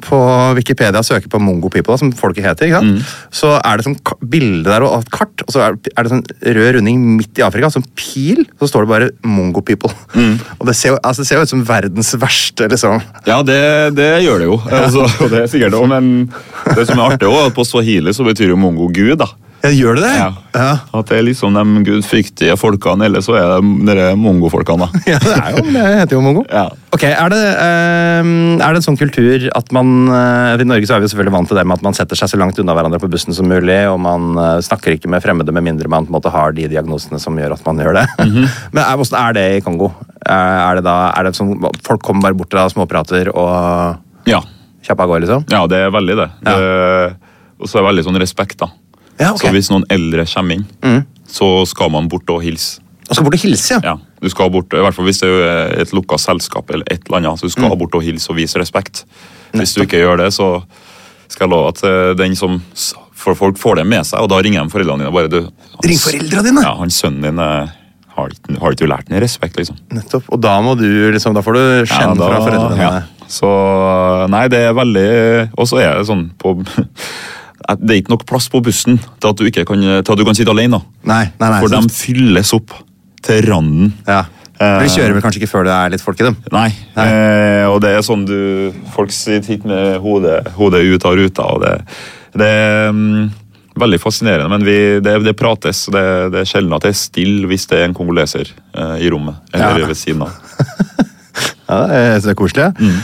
S2: på Wikipedia og søker på Mongo People, da, som folket heter, ikke sant? så er det sånn ka- bilde der og et kart, og så er, er det sånn rød runding midt i Afrika, sånn pil, så står det bare Mongo People. Og det ser, jo, altså, det ser jo ut som verdens verste, liksom.
S3: Ja, det, det gjør det jo. Altså, og det er sikkert også, men det som er artig, også, er at på swahili så betyr jo mongo gud. da.
S2: Ja, gjør det det?
S3: Ja. At det er liksom de gudfryktige folkene, eller så er det de mongofolkene. da.
S2: Ja, det, er jo, det heter jo mongo.
S3: Ja.
S2: Ok, er det, ehm, er det en sånn kultur at man eh, I Norge så er vi jo selvfølgelig vant til det med at man setter seg så langt unna hverandre på bussen som mulig, og man eh, snakker ikke med fremmede med mindre man på en måte har de diagnosene som gjør at man gjør det.
S3: Mhm.
S2: Men er, hvordan er det i Kongo? Er, er det da, er det sånn, Folk kommer bare bort til deg og småprater, og
S3: Ja.
S2: kjappa går, liksom?
S3: ja, det er veldig det.
S2: Ja.
S3: det og så er det veldig sånn respekt, da.
S2: Ja, ok.
S3: Så hvis noen eldre kommer inn, så skal man bort og hilse.
S2: Og skal bort og hilse,
S3: Ja,
S2: ja.
S3: du skal bort, i hvert fall hvis det er et lukka selskap eller et eller annet, så du skal
S2: Mm.
S3: bort og hilse og vise respekt. Hvis du ikke gjør det, så skal jeg love at eh, den som s- For folk får det med seg, og da ringer de foreldrene dine. bare du... hans-
S2: Ring foreldrene dine?
S3: Ja, han sønnen din eh, har ikke, har ikke du lært den respekt, liksom.
S2: Nettopp. Og da må du liksom, da får du skjenn
S3: da-
S2: fra foreldrene dine.
S3: ja. Så eh, nei, det er veldig Og så er det sånn på at Det er ikke nok plass på bussen til at du, ikke kan, til at du kan sitte alene. da.
S2: Nei, nei, nei.
S3: For
S2: sant.
S3: de fylles opp til randen.
S2: Ja.
S3: Eh.
S2: For De kjører vel kanskje ikke før det er litt folk i dem?
S3: Nei. Eh, og det er sånn du Folk sitter hit med hodet, hodet ut av ruta, og det, det er mm, veldig fascinerende. Men vi, det, det prates, og det, det er sjelden at det er stille hvis det er en kongoleser eh, i rommet. Eller
S2: Ja.
S3: ved siden av.
S2: Ja, jeg synes det er koselig. ja.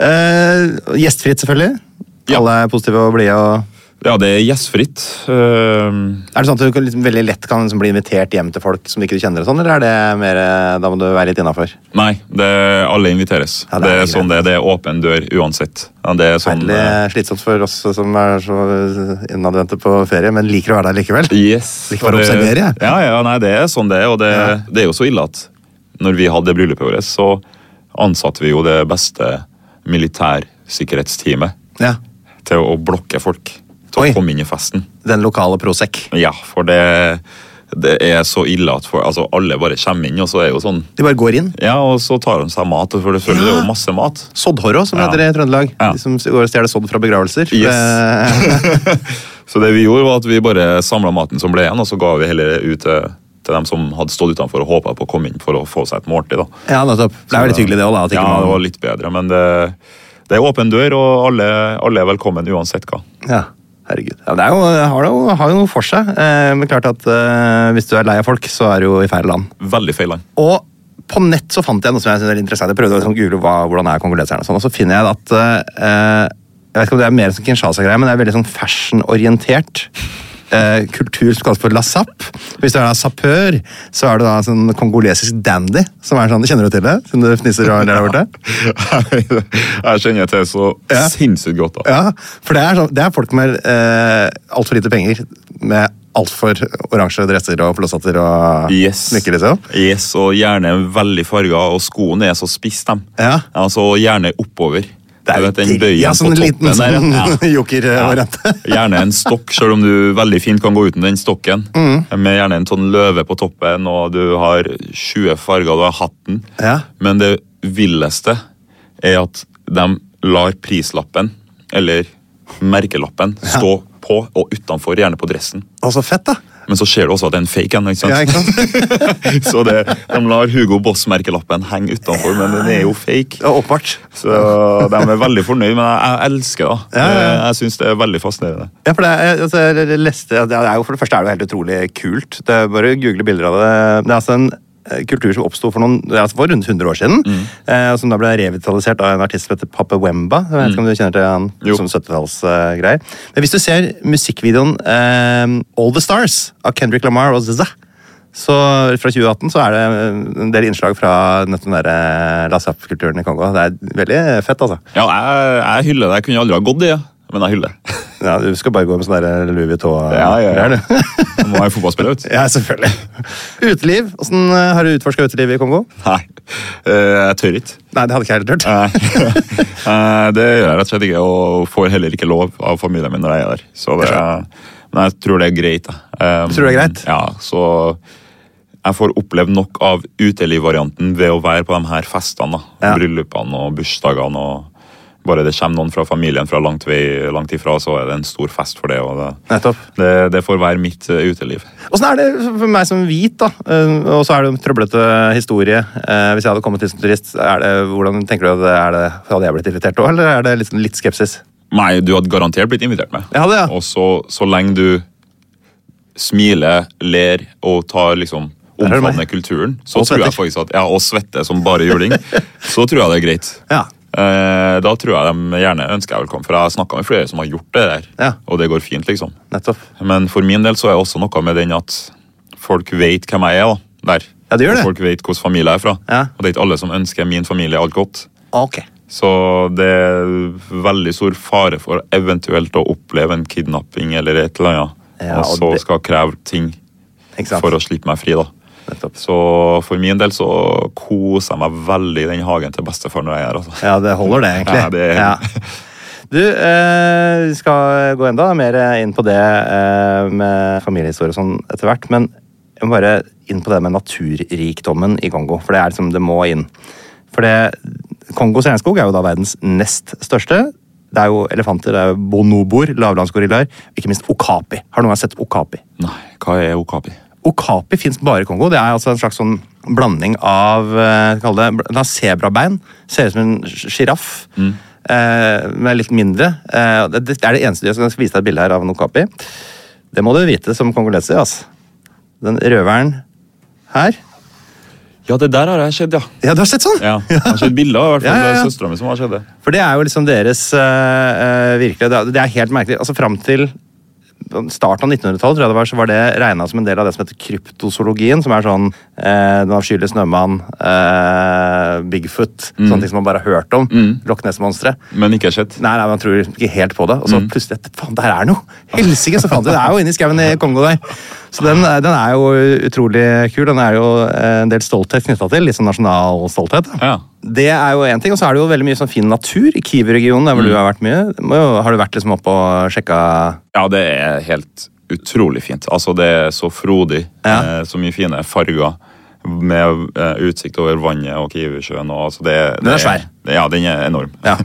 S2: Eh, gjestfritt, selvfølgelig.
S3: Mm. Ja.
S2: Alle er positive og blide. Og...
S3: Ja, det er gjestfritt. Eh,
S2: Er det sånn at du kan, liksom, veldig lett kan liksom, bli invitert hjem til folk som ikke du kjenner, og sånn, eller er det mer, eh, da må du være litt innafor?
S3: nei, det, alle inviteres.
S2: Ja, det
S3: det,
S2: er
S3: er
S2: greit.
S3: sånn det, er. det er åpen dør uansett. Ja, det er sånn,
S2: Veldig
S3: eh,
S2: slitsomt for oss som er så innadvendte på ferie, men liker å være der likevel.
S3: Yes.
S2: Ikke bare
S3: Og det-
S2: observere, jeg.
S3: Ja, ja, nei, det er sånn det er. Og det,
S2: Ja.
S3: det er jo så ille at når vi hadde bryllupet vårt, så ansatte vi jo det beste militærsikkerhetsteamet
S2: Ja.
S3: til å blokke folk til
S2: Oi.
S3: å komme inn i festen.
S2: Den lokale Prosec.
S3: Ja, for det, det er så ille at for, altså, alle bare kommer inn, og så er jo sånn
S2: De bare går inn.
S3: Ja, og så tar de seg mat, og for det følger
S2: Ja.
S3: jo masse mat.
S2: Soddhorro, som
S3: Ja.
S2: heter det i Trøndelag.
S3: Ja.
S2: De som går og stjeler sodd fra begravelser.
S3: Yes.
S2: Eh,
S3: Så det vi gjorde var at vi bare samla maten som ble igjen, og så ga vi heller ut til, til dem som hadde stått utenfor og håpa på å komme inn for å få seg et måltid. da.
S2: ja, nettopp. Det er veldig hyggelig, det òg, da. At ikke
S3: ja,
S2: man-
S3: det var litt bedre, men det, det er åpen dør, og alle, alle er velkommen uansett hva.
S2: Ja, herregud. Ja, det er jo, har, jo, har jo noe for seg, eh, men klart at eh, hvis du er lei av folk, så er du jo i feil land.
S3: Veldig feil land.
S2: Og på nett så fant jeg noe som jeg synes er interessant. Jeg prøvde å liksom google hva, hvordan er kongoleserne og sånn, og så finner jeg at eh, Jeg vet ikke om det er mer sånn Kinshasa-greie, men det er veldig sånn fashion-orientert. eh, kultur som kalles for la sap. Hvis du er da sapør, så er du da en sånn kongolesisk dandy. som er sånn, Kjenner du til det? Siden du fniser og ler der borte?
S3: Jeg kjenner til så
S2: Ja.
S3: sinnssykt godt. da.
S2: Ja, for det er, sånn, det er folk med eh, altfor lite penger, med altfor oransje dresser og flosshatter og
S3: Yes.
S2: smykker, liksom.
S3: yes, og gjerne veldig farga, og skoene er så spiss, dem.
S2: Ja.
S3: Altså, og gjerne oppover.
S2: Det er
S3: Du vet, den
S2: jo
S3: bøyen
S2: ja, sånn
S3: på toppen
S2: liten
S3: der,
S2: sånn
S3: ja.
S2: jokervariante.
S3: Gjerne en stokk, selv om du veldig fint kan gå uten den stokken.
S2: Mm.
S3: Med gjerne en sånn løve på toppen, og du har 20 farger, du har hatten.
S2: Ja.
S3: Men det villeste er at de lar prislappen, eller merkelappen, stå på og utenfor, gjerne på dressen.
S2: Og så fett, da!
S3: Men så ser du også at det er en fake en. ikke sant?
S2: Ja, ikke sant?
S3: så det, de lar Hugo Boss-merkelappen henge utenfor, men den er jo fake.
S2: Ja, Åpenbart.
S3: Så de er veldig fornøyd, men jeg, jeg elsker det. Eh,
S2: Ja, ja,
S3: Jeg syns det er veldig fascinerende.
S2: Ja, for det, er- altså, jeg leste, det er jo, for det første er det jo helt utrolig kult. Det er bare å google bilder av det. Det er altså en eh, kultur som oppsto for, noen- det er altså for rundt 100 år siden,
S3: Mm.
S2: eh, og som da ble revitalisert av en artist som heter Pape Wemba. Jeg vet ikke om du kjenner til han
S3: Mm. Jo.
S2: som 70-tallsgreier. Men hvis du ser musikkvideoen eh, All The Stars av Kendrick Lamar og ZZA, så fra 2018 så er det eh, en del innslag fra nettopp den der eh, lasap-kulturen i Kongo. Det er veldig fett, altså.
S3: Ja, jeg, jeg hyller det. Jeg kunne aldri ha gått i det, men jeg hyller det.
S2: Ja, du skal bare gå med sånn der Louis Vuitton.
S3: Ja, ja, ja.
S2: greier, du.
S3: Nå må jeg fotballspiller, vet du.
S2: ja, selvfølgelig. Uteliv. Åssen har du utforska utelivet i Kongo?
S3: Nei, eh, jeg tør ikke.
S2: Nei, det hadde ikke jeg helt tørt.
S3: Nei. Eh, det gjør jeg rett og slett ikke, og får heller ikke lov av familien min når jeg er der. Så det, men jeg tror det er greit. Da. Eh,
S2: Du tror det er greit?
S3: Ja, så jeg får oppleve nok av utelivvarianten ved å være på de her festene. da.
S2: Ja.
S3: Bryllupene og bursdagene. og bare det kommer noen fra familien fra langt, vei, langt ifra, så er det en stor fest for det. Og det,
S2: Nettopp.
S3: det, det får være mitt eh, uteliv.
S2: Åssen er det for meg som hvit, da? Eh, Og så er det en trøblete historie. Eh, Hvis jeg hadde kommet hit som turist, er det, hvordan tenker du at det er det, hadde jeg blitt irritert òg, eller er det litt, litt skepsis?
S3: Nei, du hadde garantert blitt invitert med.
S2: Jeg hadde, ja.
S3: Og så, så lenge du smiler, ler og tar liksom
S2: Der er det meg.
S3: omfavner kulturen, så
S2: Og
S3: tror jeg
S2: svetter.
S3: faktisk at, ja, og svetter som bare juling, så tror jeg det er greit.
S2: Ja.
S3: Eh, da tror jeg de gjerne ønsker jeg velkommen, for jeg har snakka med flere som har gjort det der,
S2: Ja.
S3: og det går fint, liksom.
S2: Nettopp.
S3: Men for min del så er det også noe med den at folk vet hvem jeg er, da, der.
S2: Ja, det gjør
S3: og
S2: det.
S3: folk vet hvordan familie jeg er fra.
S2: Ja.
S3: Og det er ikke alle som ønsker min familie alt godt.
S2: Ok.
S3: Så det er veldig stor fare for eventuelt å oppleve en kidnapping eller et eller annet.
S2: Ja,
S3: og
S2: og
S3: så
S2: det-
S3: skal kreve ting
S2: Ikke sant?
S3: for å slippe meg fri, da.
S2: Nettopp.
S3: Så for min del så koser jeg meg veldig i den hagen til bestefar når jeg er her. Altså.
S2: Ja, det holder det, egentlig.
S3: Ja, det-
S2: Du, eh, vi skal gå enda mer inn på det eh, med familiehistorie og sånn etter hvert, men jeg må bare inn på det med naturrikdommen i Kongo, for det er liksom, det må inn. For det, Kongos regnskog er jo da verdens nest største. Det er jo elefanter, det er jo bonoboer, lavlandsgorillaer, ikke minst okapi. Har noen gang sett okapi?
S3: Nei, hva er okapi?
S2: Okapi fins bare i Kongo. Det er altså en slags sånn blanding av eh, kall det, bl- den har sebrabein. Ser ut som en sjiraff, eh, men litt mindre. Eh, det, det er det eneste dyret. Jeg skal vise deg et bilde her av en okapi. Det må du vite som kongoleser. Altså. Den røveren her
S3: Ja, det der har jeg sett, ja.
S2: Ja, du har sett sånn?
S3: ja. Jeg har sett bilder, i hvert fall.
S2: Ja, ja, ja.
S3: Det er søstera mi som har sett det.
S2: For det er jo liksom deres eh, eh, virkelige det er- Det er helt merkelig. Altså Fram til starten av 1900-tallet tror jeg det var, så var det regna som en del av det som heter kryptozoologien. Som er sånn eh, Den avskyelige snømann, eh, Bigfoot, sånne ting som man bare har hørt om. Loch Ness-monstre.
S3: Men ikke sett.
S2: Nei, nei, man tror ikke helt på det. Og så plutselig at, Faen, der er noe! Helsike, så fant vi det! Det er jo inni skauen i Kongo der. Så den, den er jo utrolig kul. Den er jo eh, en del stolthet knytta til. Litt sånn nasjonal stolthet. da.
S3: Ja.
S2: Det er jo en ting, og så er det jo veldig mye sånn fin natur i Kiwi-regionen, der hvor du har vært mye. Det Må jo, har du vært liksom oppe og sjekka
S3: Ja, det er helt utrolig fint. Altså, det er så frodig.
S2: Ja.
S3: Eh, så mye fine farger. Med eh, utsikt over vannet og Kiwisjøen. Og, altså, det,
S2: Den er
S3: det
S2: svær.
S3: Ja, den er enorm.
S2: Ja.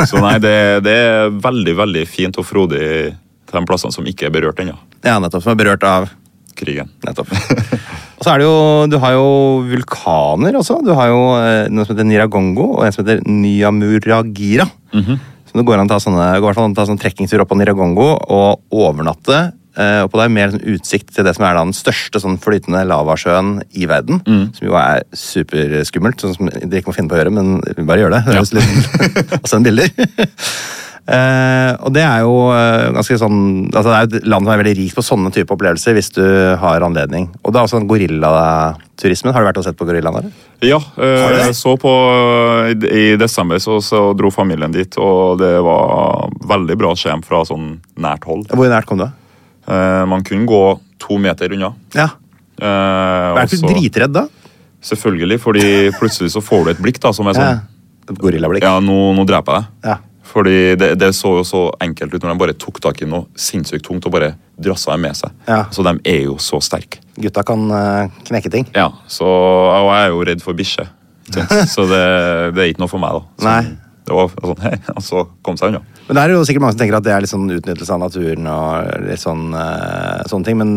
S3: så nei, det, det er veldig, veldig fint og frodig til de plassene som ikke er berørt ennå.
S2: Ja, nettopp. Som er berørt av
S3: Krigen.
S2: Nettopp. og så er det jo Du har jo vulkaner også. Du har jo eh, noe som heter Niragongo, og en som heter Nyamuragira. Så det går an å ta sånne, går i hvert fall an å ta sånn trekkingstur opp på Niragongo og overnatte. Eh, oppå der, Med sånn utsikt til det som er da den største sånn flytende lavasjøen i verden. Som jo er superskummelt, sånn som dere ikke må finne på å gjøre, men vi bare gjør det. Høres litt, og send bilder. Eh, og det er jo eh, ganske sånn altså Det er jo et land som er veldig rikt på sånne type opplevelser hvis du har anledning. Og det er også den gorillaturismen. Har du vært og sett på gorillaen? eller?
S3: Ja, eh, jeg så på i, i desember så, så dro familien dit, og det var veldig bra skjem fra sånn nært hold.
S2: Hvor nært kom du?
S3: Eh, man kunne gå to meter unna.
S2: Ja.
S3: Eh, er
S2: Er du ikke dritredd da?
S3: Selvfølgelig, fordi plutselig så får du et blikk da, som er sånn
S2: Ja. Gorillablikk.
S3: Ja, nå, nå dreper jeg deg.
S2: Ja.
S3: Fordi det, det så jo så enkelt ut når de bare tok tak i noe sinnssykt tungt og bare drassa dem med seg.
S2: Ja.
S3: Så de er jo så sterke.
S2: Gutta kan eh, knekke ting.
S3: Ja, så, og jeg er jo redd for bikkje. Så det, det er ikke noe for meg, da. Så
S2: Nei.
S3: Det var sånn, hei, og så kom seg unna.
S2: Men det er jo sikkert mange som tenker at det er litt sånn utnyttelse av naturen og litt sånn, eh, sånne ting, men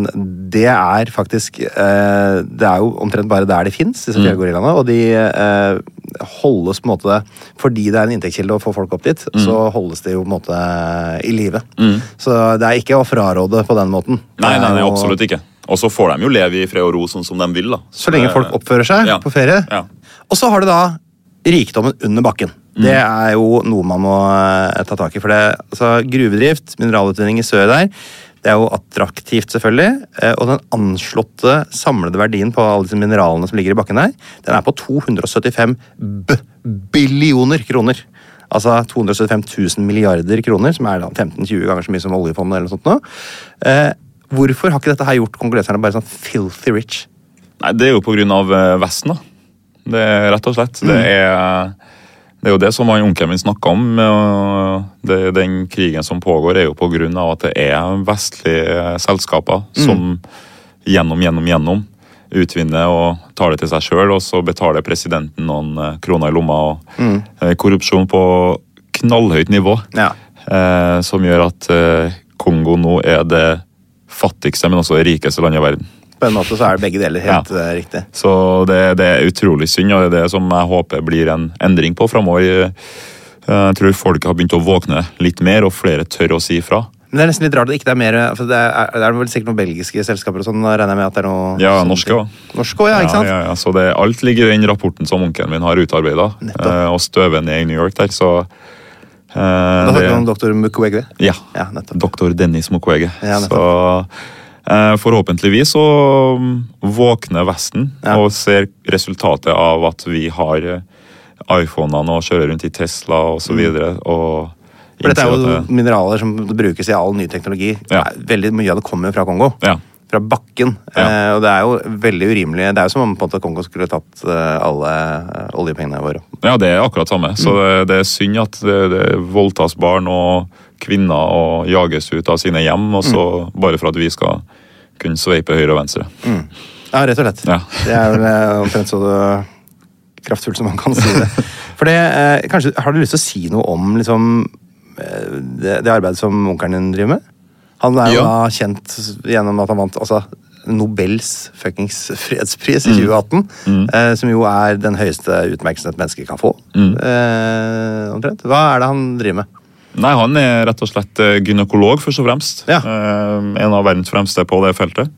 S2: det er faktisk eh, Det er jo omtrent bare der det
S3: Mm.
S2: fins, disse fjellgorillaene, og de eh, holdes på en måte Fordi det er en inntektskilde å få folk opp dit,
S3: Mm.
S2: så holdes de jo på en måte eh, i live. Så det er ikke å fraråde på den måten.
S3: Nei,
S2: Det
S3: nei,
S2: er
S3: nei,
S2: jo-
S3: absolutt ikke. Og så får de jo leve i fred og ro sånn som de vil, da.
S2: Så lenge folk oppfører seg
S3: Eh, Ja.
S2: på ferie.
S3: Ja. Mm.
S2: Og så har du da rikdommen under bakken. Det er jo noe man må eh, ta tak i. For det, altså, gruvedrift, mineralutvinning i sør der, det er jo attraktivt, selvfølgelig. eh, Og den anslåtte samlede verdien på alle disse mineralene som ligger i bakken her, den er på 275 b billioner kroner. Altså 275 000 milliarder kroner, som er da 15-20 ganger så mye som oljefondet. eller noe sånt nå. Eh, hvorfor har ikke dette her gjort kongoleserne bare sånn filthy rich?
S3: Nei, Det er jo pga. eh, Vesten, da. Det er Rett og slett. Det, er, det er jo det som han onkelen min snakka om. og Det, den krigen som pågår, er jo pga. at det er vestlige selskaper som gjennom, gjennom, gjennom utvinner og tar det til seg sjøl, og så betaler presidenten noen eh, kroner i lomma. og eh, Korrupsjon på knallhøyt nivå.
S2: Ja.
S3: Eh, som gjør at eh, Kongo nå er det fattigste, men også det rikeste landet i verden.
S2: På en måte så er det begge deler helt
S3: Ja.
S2: eh, riktig.
S3: Så det, det er utrolig synd, og det er det som jeg håper blir en endring på framover. Jeg tror folk har begynt å våkne litt mer, og flere tør å si ifra.
S2: Men det er nesten litt rart at det ikke er mer for Det er, det er vel sikkert noen belgiske selskaper og sånn, da regner jeg med at det er noe
S3: Ja, norske også.
S2: Norske òg, ja, ikke sant?
S3: Ja, ja, så det, alt ligger i den rapporten som onkelen min har utarbeida,
S2: Nettopp.
S3: og støvet ned i New York der, så eh,
S2: Da
S3: det-
S2: snakker vi om doktor Mukwege.
S3: Ja.
S2: Ja, nettopp.
S3: Doktor Dennis Mukwege.
S2: Ja, nettopp.
S3: så eh, forhåpentligvis så mm, våkner Vesten
S2: Ja.
S3: og ser resultatet av at vi har eh, iPhonene og kjører rundt i Tesla og så videre. Og
S2: Mm. For dette er
S3: innser
S2: jo
S3: at det-
S2: mineraler som brukes i all ny teknologi.
S3: Ja.
S2: Det er Veldig mye av det kommer jo fra Kongo.
S3: Ja.
S2: Fra bakken.
S3: Ja.
S2: Eh, og det er jo veldig urimelig. Det er jo som om på en måte Kongo skulle tatt eh, alle eh, oljepengene våre.
S3: ja, det er akkurat samme. Så
S2: Mm.
S3: det, det er synd at det, det voldtas barn og kvinner og jages ut av sine hjem, og så
S2: Mm.
S3: bare for at vi skal kunne sveipe høyre og venstre.
S2: Ja, rett og slett.
S3: Ja.
S2: Det er vel eh, omtrent så det kraftfullt som man kan si det. For det, eh, kanskje, Har du lyst til å si noe om liksom, eh, det, det arbeidet som onkelen din driver med? Han er jo
S3: Ja.
S2: da kjent gjennom at han vant altså, Nobels fuckings fredspris i
S3: Mm.
S2: 2018. Eh, som jo er den høyeste utmerkelsen et menneske kan få.
S3: Mm.
S2: Eh, omtrent. Hva er det han driver med?
S3: Nei, Han er rett og slett eh, gynekolog, først og fremst.
S2: Ja.
S3: Eh, en av verdens fremste på det feltet.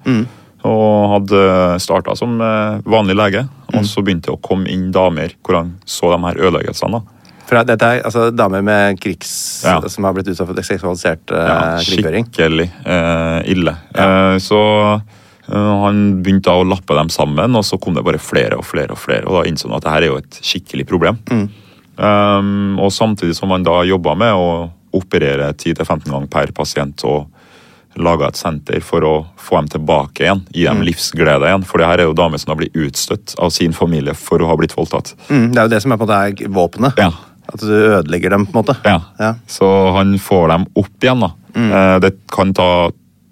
S3: Og hadde starta som eh, vanlig lege, og så begynte det å komme inn damer hvor han så de her ødeleggelsene. da.
S2: For dette er altså, damer med krigs...
S3: Ja.
S2: som har blitt utsatt for seksualisert eh,
S3: Ja,
S2: krigføring.
S3: skikkelig eh, ille. Eh, så eh, han begynte da å lappe dem sammen, og så kom det bare flere og flere. Og flere, og da innså han at det her er jo et skikkelig problem.
S2: Mm.
S3: Um, og samtidig som han da jobba med å operere 10-15 ganger per pasient og laga et senter for å få dem tilbake igjen, gi dem
S2: Mm.
S3: livsglede igjen. For det her er jo damer som har blitt utstøtt av sin familie for å ha blitt voldtatt.
S2: Mm, det er jo det som er på en måte er våpenet.
S3: Ja.
S2: At du ødelegger dem, på en måte.
S3: Ja.
S2: Ja. Mm.
S3: Så han får dem opp igjen, da. Eh, det kan ta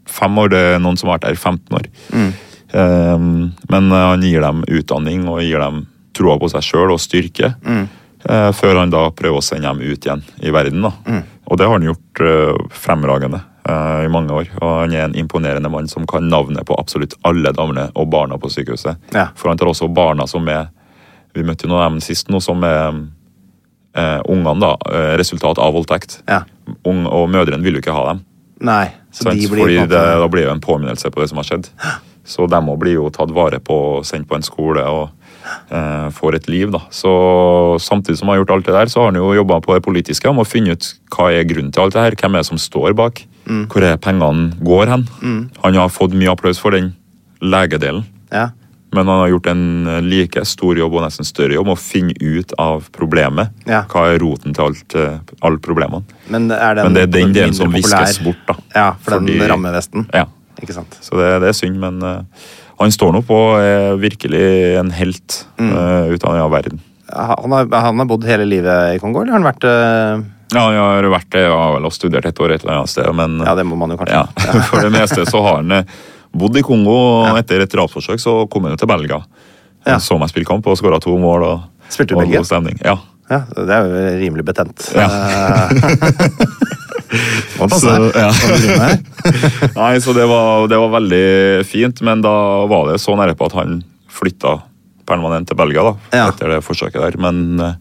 S3: fem år, det er noen som har vært der i 15 år.
S2: Mm.
S3: Um, men eh, han gir dem utdanning og gir dem troa på seg sjøl og styrke.
S2: Mm.
S3: eh, før han da prøver å sende dem ut igjen i verden. da.
S2: Mm.
S3: Og det har han gjort eh, fremragende eh, i mange år. Og han er en imponerende mann som kan navnet på absolutt alle damene og barna på sykehuset.
S2: Ja.
S3: For han tar også barna som er Vi møtte jo noen av dem sist nå, som er eh, ungene, da, eh, resultat av voldtekt.
S2: Ja.
S3: Ung, og mødrene vil jo ikke ha dem.
S2: Nei, så
S3: sant?
S2: de blir
S3: Fordi
S2: på en
S3: det,
S2: måte-
S3: Da blir det jo en påminnelse på det som har skjedd. Så de òg blir jo tatt vare på og sendt på en skole og eh, får et liv. da. Så Samtidig som han har gjort alt det der, så har han jo jobba på det politiske om å finne ut hva er grunnen til alt det her. Hvem er det som står bak?
S2: Mm.
S3: Hvor er pengene går hen? Han har fått mye applaus for den legedelen.
S2: Ja.
S3: Men han har gjort en eh, like stor jobb og nesten større jobb med å finne ut av problemet.
S2: Ja.
S3: Hva er roten til alt, eh, alle problemene?
S2: Men er den,
S3: Men det er den
S2: mindre
S3: delen som
S2: populær?
S3: viskes bort, da.
S2: Ja, for
S3: Fordi-
S2: den rammevesten.
S3: Ja.
S2: Ikke sant.
S3: Så det, det er synd, men eh, han står nå på og er virkelig en helt
S2: Mm.
S3: eh, ut av den verden.
S2: Han har, han har bodd hele livet i Kongo, eller har han vært eh,
S3: Ja, han har vært det, ja, vel, og studert et år et eller annet sted, men eh,
S2: Ja, det må man jo kanskje.
S3: Ja, for det meste så har han eh, bodd i Kongo, og etter et drapsforsøk så kom han jo til Belgia.
S2: Ja.
S3: Han Så meg spille kamp og skåra to mål. Og,
S2: Spilte du
S3: og
S2: Belgia?
S3: god stemning. Ja.
S2: Ja, så det er jo rimelig betent. Eh,
S3: Ja. Så- ja. Altså- Nei, så det var, det var veldig fint, men da var det så nære på at han flytta permanent til Belgia da,
S2: Ja.
S3: etter det forsøket der. Men eh,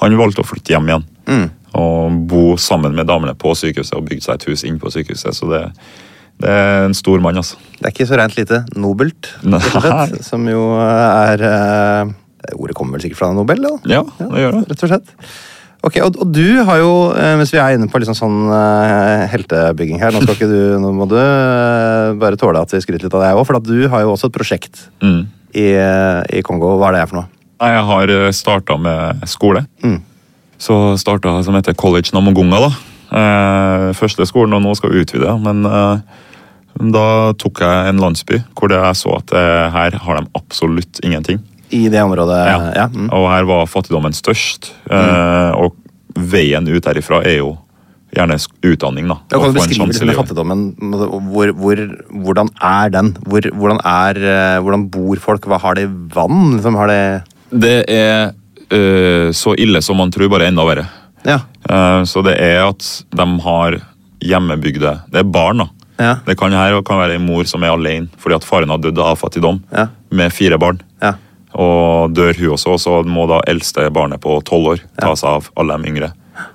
S3: han valgte å flytte hjem igjen og bo sammen med damene på sykehuset og bygde seg et hus inn på sykehuset. Så det, det er en stor mann, altså.
S2: Det er ikke så rent lite nobelt,
S3: Nei.
S2: rett og slett, som jo er eh, Ordet kommer vel sikkert fra Nobel, da?
S3: Ja, det gjør det.
S2: Rett og slett. Ok, og, og du har jo, eh, mens vi er inne på liksom sånn eh, heltebygging her Nå skal ikke du, nå må du eh, bare tåle at vi skryter litt av deg òg, for at du har jo også et prosjekt
S3: Mm.
S2: i, eh, i Kongo. Hva er det her for noe? Mm.
S3: Nei, Jeg har starta med skole. Så starta jeg som heter College Namogunga, da. Eh, første skolen, og nå skal vi utvide. Men eh, da tok jeg en landsby hvor det jeg så at eh, her har de absolutt ingenting.
S2: I det området, ja.
S3: Ja.
S2: Mm.
S3: Og her var fattigdommen størst. Eh, og veien ut derifra er jo gjerne sk- utdanning, da.
S2: Da kan
S3: og
S2: du
S3: få en sånn
S2: beskrive
S3: sjanse i
S2: liksom, den
S3: livet.
S2: fattigdommen. Hvor, hvor, hvordan er den? Hvor, hvordan, er, eh, hvordan bor folk? Hva har de vann? Liksom, har de
S3: Det er eh, så ille som man tror, bare enda verre.
S2: Ja.
S3: Eh, så det er at de har hjemmebygde Det er barn, da.
S2: Ja.
S3: Det kan her kan være en mor som er alene fordi at faren har dødd av fattigdom,
S2: Ja.
S3: med fire barn.
S2: ja.
S3: Og dør hun også, så må da eldste barnet på tolv år ta seg av alle de yngre.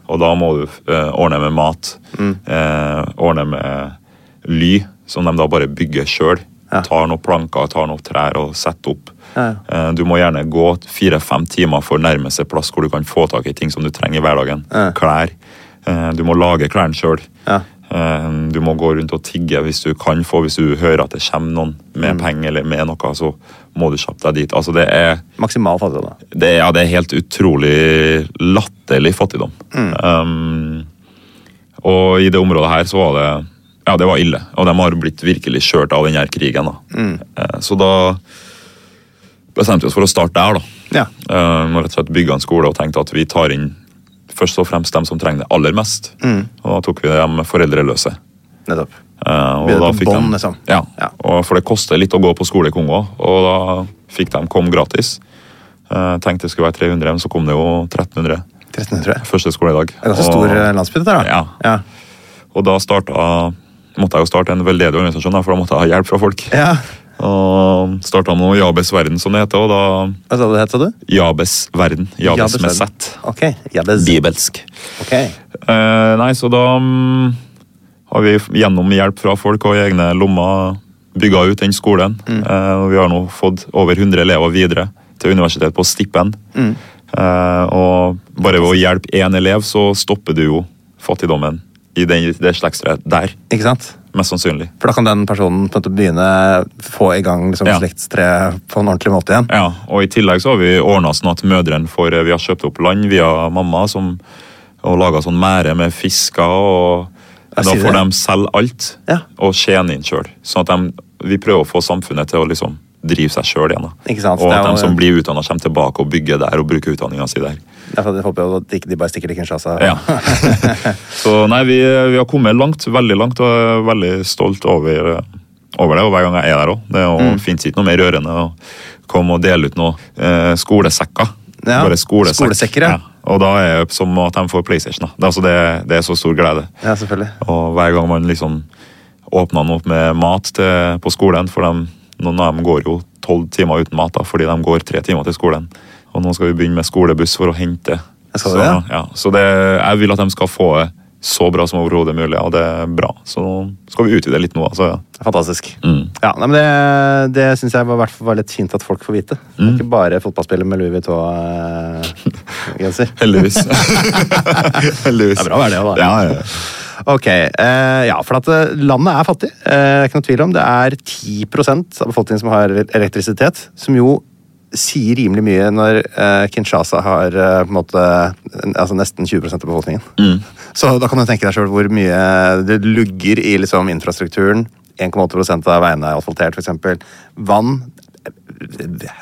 S3: Og da må du eh, ordne med mat,
S2: Mm.
S3: eh, ordne med ly, som de da bare bygger sjøl.
S2: Ja.
S3: Tar noen planker, tar noen trær og setter opp.
S2: Ja, ja.
S3: Eh, du må gjerne gå fire-fem timer for nærmeste plass hvor du kan få tak i ting som du trenger i hverdagen.
S2: Ja.
S3: Klær. Eh, du må lage klærne sjøl.
S2: Ja.
S3: Eh, Du må gå rundt og tigge hvis du kan få, hvis du hører at det kommer noen med penger eller med noe, så må du kjappe deg dit. Altså det er,
S2: Maksimal fattigdom. da.
S3: det er, ja, det er helt utrolig latterlig fattigdom. Um, og i det området her så var det ja, det var ille. Og de har blitt virkelig kjørt av den her krigen. da. Eh, Så da bestemte vi oss for å starte der, da.
S2: Ja.
S3: Eh, og rett og slett bygge en skole og tenkte at vi tar inn først og fremst dem som trenger det aller mest.
S2: Mm.
S3: Og da tok vi dem foreldreløse.
S2: Nettopp.
S3: Eh, og
S2: Begynner
S3: da
S2: på
S3: fikk de-
S2: bånn, liksom.
S3: Ja,
S2: Ja.
S3: Og for det koster litt å gå på skole i Kongo, og da fikk de kom gratis. Eh, tenkte det skulle være 300, men så kom det jo 1300.
S2: 1300, tror jeg.
S3: Første skoledag.
S2: Det er ganske
S3: Og-
S2: stor eh, landsby, dette her. da.
S3: Ja. Og da starta, måtte jeg jo starte en veldedig organisasjon, da, for da måtte jeg ha hjelp fra folk.
S2: Ja. ja.
S3: Og starta med noe Jabes verden, som det heter. Og da
S2: Hva sa du det het, sa du?
S3: Jabes verden. Jabes, med
S2: verden.
S3: Z.
S2: Ok. Jabes.
S3: Bibelsk.
S2: Ok.
S3: Eh, nei, så da mm, har vi f- gjennom hjelp fra folk og i egne lommer bygga ut den skolen. Eh, og vi har nå fått over 100 elever videre til universitetet på stipend. Eh, og bare ved å hjelpe én elev, så stopper du jo fattigdommen i den, det slektstreet der.
S2: Ikke sant?
S3: Mest sannsynlig.
S2: For da kan den personen på en måte begynne få i gang liksom,
S3: Ja.
S2: slektstreet på en ordentlig måte igjen.
S3: Ja, og i tillegg så har vi ordna sånn at mødrene får Vi har kjøpt opp land via mamma som, og laga sånn mære med fisker. og
S2: Jeg
S3: Da
S2: sier
S3: får
S2: det.
S3: de selge alt
S2: Ja.
S3: og tjene inn sjøl. Sånn at de, vi prøver å få samfunnet til å liksom drive seg sjøl igjen. da.
S2: Ikke sant,
S3: Og
S2: det
S3: at de
S2: er jo-
S3: som blir utdanna, kommer tilbake og bygger der og bruker utdanninga si der.
S2: Derfor håper jeg at de ikke de bare stikker til Kinshasa.
S3: Ja. så nei, vi, vi har kommet langt, veldig langt, og jeg er veldig stolt over, over det. Og hver gang jeg er der òg. Det er jo-
S2: Mm.
S3: finnes ikke noe mer rørende å komme og dele ut noe eh, skolesekker.
S2: Ja,
S3: Bare skolesekk.
S2: skolesekker, ja.
S3: Og da er det som at de får PlayStation. da. Det, er altså, det, det er så stor glede.
S2: Ja, selvfølgelig.
S3: Og hver gang man liksom åpner den opp med mat til, på skolen, for dem- noen av dem går jo tolv timer uten mat da, fordi de går tre timer til skolen. Og nå skal vi begynne med skolebuss for å hente.
S2: Jeg så
S3: så
S2: det, ja.
S3: ja, så det, jeg vil at de skal få det så bra som overhodet mulig, og det er bra. Så nå skal vi utvide litt nå. Altså, ja.
S2: Fantastisk.
S3: Mm.
S2: Ja, nei, men Det, det syns jeg var, i hvert fall var litt fint at folk får vite.
S3: Mm.
S2: Det er Ikke bare fotballspiller med Louis eh, Vuitton-genser.
S3: Heldigvis. Heldigvis.
S2: Det er bra å være det også, da.
S3: Ja, ja, ja.
S2: Ok, eh, ja, for at eh, landet er fattig. Eh, det er ikke noe tvil om. Det er 10 av befolkningen som har ele- elektrisitet, som jo sier rimelig mye når eh, Kinshasa har eh, på en måte, eh, altså nesten 20 av befolkningen.
S3: Mm.
S2: Så da kan du tenke deg sjøl hvor mye det lugger i liksom, infrastrukturen. 1,8 av veiene er asfaltert, f.eks. Vann Det er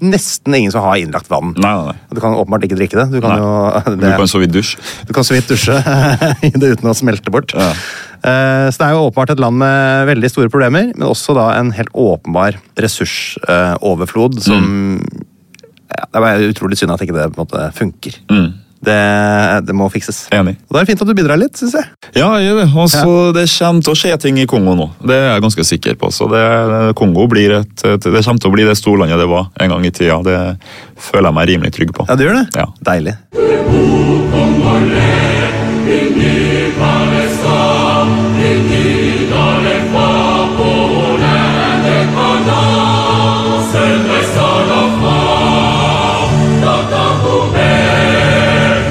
S2: Nesten ingen som har innlagt vann.
S3: Nei, nei, nei.
S2: Du kan åpenbart ikke drikke det. Du kan,
S3: Nei.
S2: jo,
S3: Du kan sove i dusj.
S2: du kan så vidt dusje i det uten å smelte bort.
S3: Ja.
S2: Eh, Så det er jo åpenbart et land med veldig store problemer, men også da en helt åpenbar ressursoverflod som
S3: Mm.
S2: ja, Det er bare utrolig synd at ikke det på en måte funker. Det, det må fikses.
S3: Mm. Enig.
S2: Og da er det fint at du bidrar litt, syns jeg.
S3: Ja, jeg gjør det. Og så det kommer til å skje ting i Kongo nå. Det er jeg ganske sikker på. Så det, Kongo blir et, et, det kommer til å bli det storlandet det var en gang i tida. Det føler jeg meg rimelig trygg på.
S2: Ja, du gjør det?
S3: Ja.
S2: Deilig.
S4: Hey,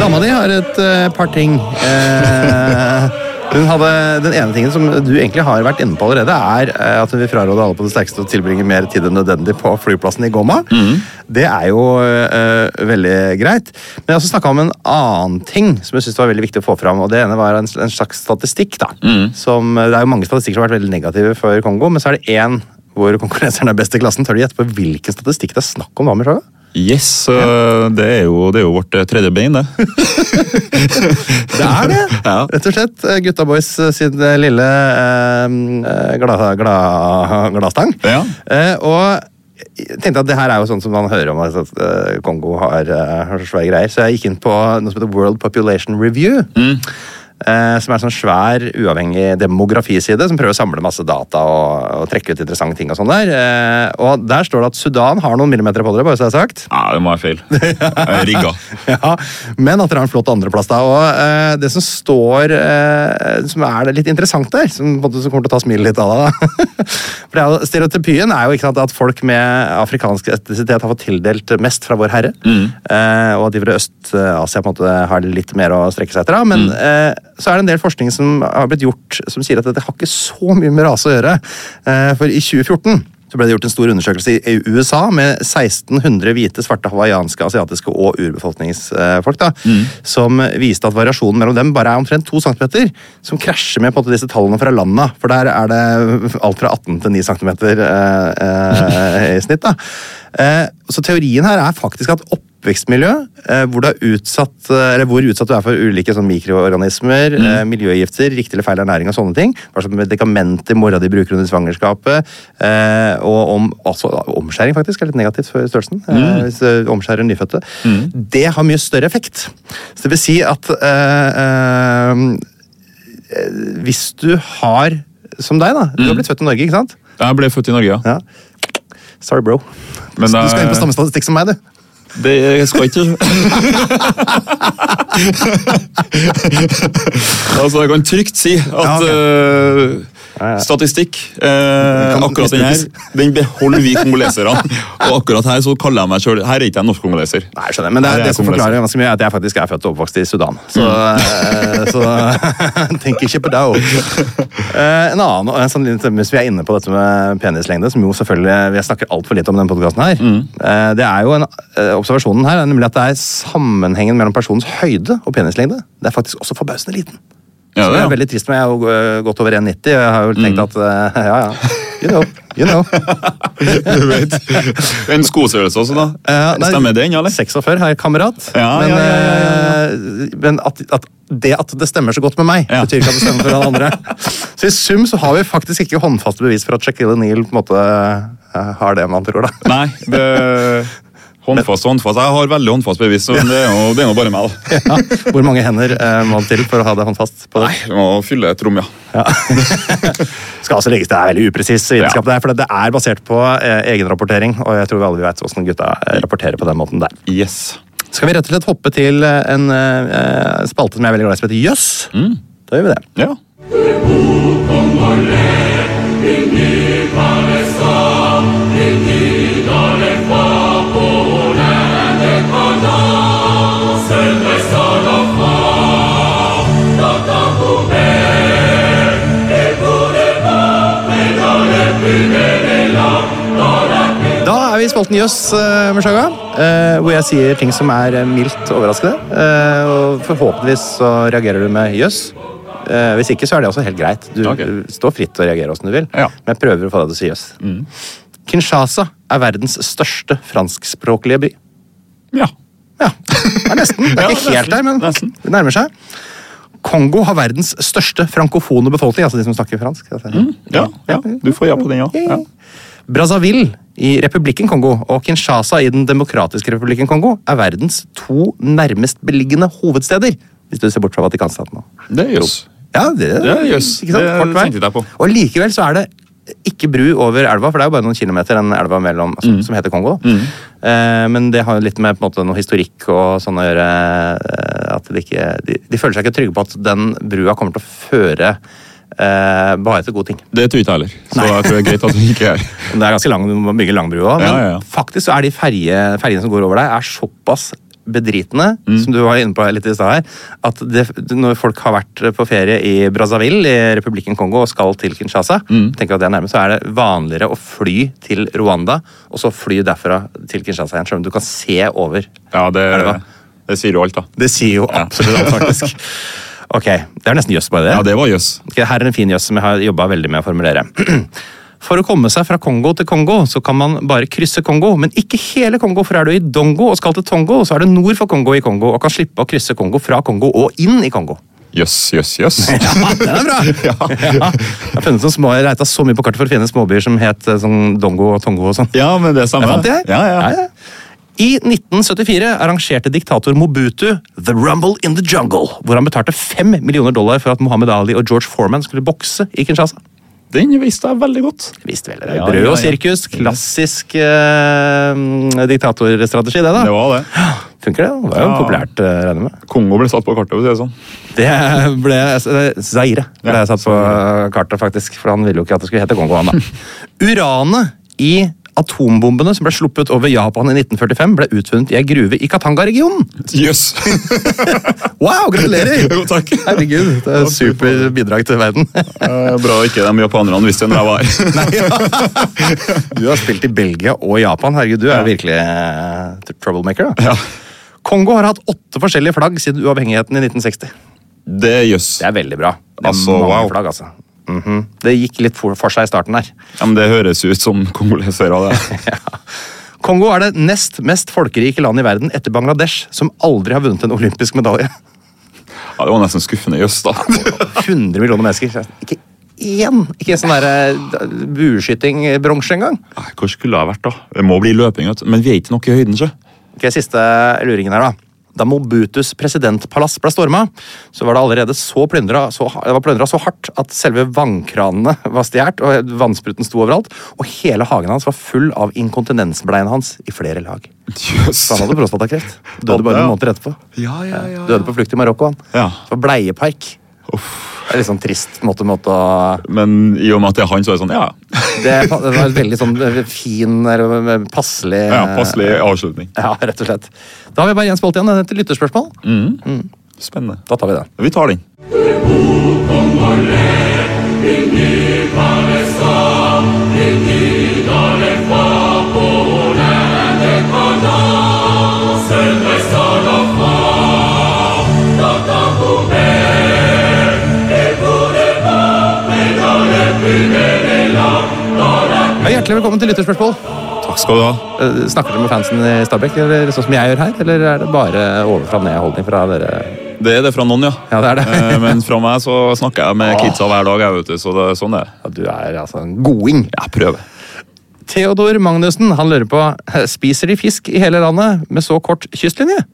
S2: Dama di har et eh, par ting. Eh, hun hadde, den ene tingen som du egentlig har vært inne på allerede, er eh, at hun vil fraråde alle på det sterkeste å tilbringe mer tid enn nødvendig på flyplassen i Goma. Det er jo eh, veldig greit. Men jeg har også snakka om en annen ting som jeg synes var veldig viktig å få fram. og Det ene var en, en slags statistikk. da. Som, eh, det er jo mange statistikker som har vært veldig negative for Kongo, men så er det én hvor konkurrenseren er best i klassen. Tør du gjette på hvilken statistikk det er snakk om? da, Mishaga?
S3: Yes, øh, det er jo, det er jo vårt øh, tredje bein, det.
S2: Det er det!
S3: Ja.
S2: Rett og slett. eh, Gutta Boys eh, sin eh, lille eh, eh, gla- gla- gladstang.
S3: Ja.
S2: Eh, og jeg tenkte at det her er jo sånn som man hører om altså, at eh, Kongo har, eh, har så svære greier. Så jeg gikk inn på noe som heter World Population Review.
S3: Mm.
S2: eh, Som er en sånn svær, uavhengig demografiside som prøver å samle masse data og, og trekke ut interessante ting. og sånn der. Eh, Og der står det at Sudan har noen millimeter på det, bare så det er sagt.
S3: Nei, det må være feil. Jeg Rigga.
S2: Ja, men at dere har en flott andreplass da. Og eh, det som står, eh, som er litt interessant der, som, på en måte som kommer til å ta smilet litt av deg, da. For det er jo, stereotypien er jo ikke sant, at folk med afrikansk etnisitet har fått tildelt mest fra Vår Herre, eh, og at de fra Øst-Asia på en måte har litt mer å strekke seg etter. da, Men eh, så er det en del forskning som har blitt gjort som sier at dette har ikke så mye med rase å gjøre. Eh, for i 2014 så ble det gjort en stor undersøkelse i USA med 1600 hvite, svarte, hawaiianske, asiatiske og urbefolkningsfolk, da, som viste at variasjonen mellom dem bare er omtrent 2 cm, som krasjer med på en måte disse tallene fra landa. For der er det alt fra 18 til 9 cm eh, eh, i snitt. da. Eh, så teorien her er faktisk at opp oppvekstmiljø, eh, hvor, du er utsatt, eh, eller hvor utsatt du er for ulike sånn, mikroorganismer,
S3: Mm.
S2: eh, miljøgifter, riktig eller feil ernæring og sånne ting. Hva slags medikamenter mora di bruker under svangerskapet. Eh, og om, altså, omskjæring faktisk er litt negativt for størrelsen.
S3: Mm.
S2: Eh, hvis du omskjærer nyfødte. Det har mye større effekt. Så det vil si at eh, eh, hvis du har, som deg, da
S3: Mm.
S2: Du har blitt født i Norge, ikke sant?
S3: Jeg ble født i Norge, ja.
S2: Ja. Sorry, bro.
S3: Men,
S2: du skal inn på
S3: eh,
S2: samme statistikk som meg, du.
S3: Det jeg skal ikke Altså, jeg kan trygt si at
S2: Ja, ok.
S3: eh,
S2: ja.
S3: Statistikk. eh,
S2: Kan-
S3: akkurat den her Den beholder vi kongoleserne. Og akkurat her så kaller jeg meg sjøl Her er ikke jeg norsk kongoleser.
S2: Nei, jeg skjønner, men det,
S3: Her
S2: er,
S3: er
S2: det
S3: jeg
S2: som
S3: kongoleser.
S2: forklarer ganske mye, er at jeg faktisk er født og oppvokst i Sudan. Så, eh, så tenk ikke på det. Eh, en annen, og en sånn, liten- Hvis vi er inne på dette med penislengde, som jo selvfølgelig vi snakker altfor lite om i denne podkasten her, eh, det er jo en, eh, observasjonen her er nemlig at det er sammenhengen mellom personens høyde og penislengde. Det er faktisk også forbausende liten.
S3: Ja,
S2: Så
S3: det
S2: det
S3: er.
S2: er veldig trist, men jeg er jo eh, godt over 1,90, og jeg har jo tenkt at eh, ja, ja, you know, you know.
S3: Du vet. En skostørrelse også, da.
S2: Ja, Eh, nei,
S3: Stemmer den, eller?
S2: 46 her, kamerat.
S3: Ja,
S2: men
S3: ja, ja, ja, ja.
S2: eh, eh, men at, at det at det stemmer så godt med meg,
S3: Ja.
S2: betyr ikke at det stemmer for alle andre. Så i sum så har vi faktisk ikke håndfaste bevis for at Shaquille O'Neal på en måte eh, har det man tror, da.
S3: Nei, det Håndfast og håndfast. Jeg har veldig håndfast bevis, så det er jo, det er jo bare meg. da.
S2: Ja. Hvor mange hender eh, må til for å ha det håndfast? på det?
S3: Nei, Vi må fylle et rom, ja.
S2: skal også legges, Det er veldig upresis vitenskap, det her, for det er basert på eh, egenrapportering. Og jeg tror vi alle vi vet hvordan gutta eh, rapporterer på den måten der.
S3: Yes.
S2: Skal vi rett og slett hoppe til eh, en eh, spalte som jeg er veldig glad i, som heter Jøss?
S3: Mm.
S2: Da gjør vi det.
S3: Ja.
S2: Da er vi i spalten Jøss, eh, Mushaga, eh, hvor jeg sier ting som er eh, mildt overraskende. eh, og forhåpentligvis så reagerer du med jøss. Eh, hvis ikke, så er det også helt greit. Du,
S3: Ok.
S2: du står fritt til å reagere hvordan du vil,
S3: Ja. Mm.
S2: men jeg prøver å få deg til å si jøss. Kinshasa er verdens største franskspråklige by.
S3: ja.
S2: Ja, det er nesten. Det er ikke
S3: Ja,
S2: helt der, men
S3: nesten.
S2: det nærmer seg. Kongo har verdens største frankofone befolkning, altså de som snakker fransk.
S3: Ja, ja. Du får ja på den, ja. ja.
S2: Brazzaville i republikken Kongo og Kinshasa i den demokratiske republikken Kongo er verdens to nærmest beliggende hovedsteder, hvis du ser bort fra Vatikanstaten. nå.
S3: Det er jøss.
S2: Ja, det,
S3: Ja, jøss.
S2: Ikke sant?
S3: Det
S2: Kort vei.
S3: tenkte jeg på.
S2: Og likevel så er det ikke bru over elva, for det er jo bare noen kilometer den elva mellom, altså, som heter Kongo. da. Eh, men det har jo litt med på en måte, noe historikk og sånn å gjøre. Eh, at de, ikke, de, de føler seg ikke trygge på at den brua kommer til å føre eh, bare til gode ting.
S3: Det tror ikke jeg heller, så jeg tror det er greit at vi ikke er her.
S2: Det er ganske lang, du må bygge lang bru også, men
S3: Ja, ja, ja.
S2: faktisk så er de ferje, ferjene som går over deg, er såpass bedritende, som du var inne på litt i stad her, at det, når folk har vært på ferie i Brazzaville, i republikken Kongo, og skal til Kinshasa, tenker at det er nærmest, så er det vanligere å fly til Rwanda, og så fly derfra til Kinshasa igjen, selv om du kan se over.
S3: Ja, det,
S2: Elva.
S3: det sier jo alt, da.
S2: Det sier jo absolutt alt, faktisk. Ok, det er nesten jøss bare det.
S3: Ja, det var jøss.
S2: Ok, Her er en fin jøss som jeg har jobba veldig med å formulere. For å komme seg fra Kongo til Kongo, så kan man bare krysse Kongo, men ikke hele Kongo, for er du i Dongo og skal til Tongo, så er det nord for Kongo i Kongo, og kan slippe å krysse Kongo fra Kongo og inn i Kongo.
S3: Jøss, jøss, jøss.
S2: Den er bra!
S3: Ja.
S2: Ja, jeg har funnet noen små, jeg leita så mye på kartet for å finne småbyer som het eh, sånn Dongo og Tongo og sånn.
S3: ja, men det er samme.
S2: Jeg fant det her.
S3: Ja, ja.
S2: Ja, ja. I 1974 arrangerte diktator Mobutu The Rumble in the Jungle, hvor han betalte fem millioner dollar for at Mohammed Ali og George Foreman skulle bokse i Kinshasa.
S3: Den visste jeg veldig godt.
S2: Visst vel, det
S3: Ja,
S2: Brød
S3: ja, Mm.
S2: og
S3: ja.
S2: sirkus. Klassisk eh, diktatorstrategi, det, da.
S3: Det var det.
S2: Funker det? Det var jo
S3: Ja.
S2: populært, eh, regner jeg med.
S3: Kongo ble satt på kartet, for å si det sånn.
S2: Det ble altså, Zaire. Ble
S3: Ja,
S2: satt på kartet, faktisk. For han ville jo ikke at det skulle hete Kongo. Han, da. Uranet i atombombene som ble sluppet over Japan i 1945, ble utvunnet i ei gruve i Katanga-regionen.
S3: Jøss!
S2: Wow, gratulerer!
S3: Jo, takk.
S2: Herregud, det er et super bidrag til verden.
S3: Eh, Bra ikke de japanerne visste det når jeg var her.
S2: Nei, ja. Du har spilt i Belgia og Japan. Herregud, du er virkelig eh, troublemaker. da.
S3: Ja.
S2: Kongo har hatt åtte forskjellige flagg siden uavhengigheten i 1960.
S3: Det er jøss.
S2: Det er veldig bra. Det er
S3: Altså,
S2: mange
S3: wow.
S2: flagg, altså. Mhm. Det gikk litt for, for seg i starten her.
S3: Ja, men det høres ut som kongolesere. det.
S2: Kongo er det nest mest folkerike land i verden etter Bangladesh, som aldri har vunnet en olympisk medalje.
S3: Ja, det var nesten skuffende jøss, da.
S2: 100 millioner mennesker. Ikke én! Ikke sånn der, eh, bueskyting-bronse engang.
S3: Nei, Hvor skulle jeg vært, da? Det må bli løping, vet du. Men vi er ikke nok i høyden, sjø.
S2: Ok, Siste luringen her, da. Da Mobutus presidentpalass ble storma, så var det allerede så plyndra så, det var plyndret så hardt at selve vannkranene var stjålet, og vannspruten sto overalt. Og hele hagen hans var full av inkontinensbleiene hans i flere lag.
S3: Jøss.
S2: Så han hadde prostatakreft. Døde bare
S3: Ja.
S2: noen måneder etterpå.
S3: Ja, ja, ja.
S2: Døde på flukt i Marokko, han.
S3: Ja.
S2: Det var bleiepark. Det er litt sånn trist måte, måte å
S3: Men i og med at det er han, så er det sånn, ja.
S2: det, det var en veldig sånn fin, eller passelig eh,
S3: ja passelig avslutning.
S2: Ja, rett og slett. Da har vi bare én spalte igjen, den heter lytterspørsmål.
S3: Spennende.
S2: Da tar vi den.
S3: Vi tar den.
S2: Ja, hjertelig velkommen til lytterspørsmål.
S3: Takk skal du ha.
S2: Eh, Snakker dere med fansen i Stabæk, eller sånn som jeg gjør her? Eller er det bare ovenfra og ned-holdning fra dere?
S3: Det er det fra noen, ja.
S2: Ja, det Ah. er det.
S3: Eh, Men fra meg så snakker jeg med kidsa hver dag, jeg, vet du, så det er sånn det er.
S2: Ja, du er altså en goding.
S3: Jeg prøver.
S2: Theodor Magnussen han lurer på eh, spiser de fisk i hele landet med så kort kystlinje.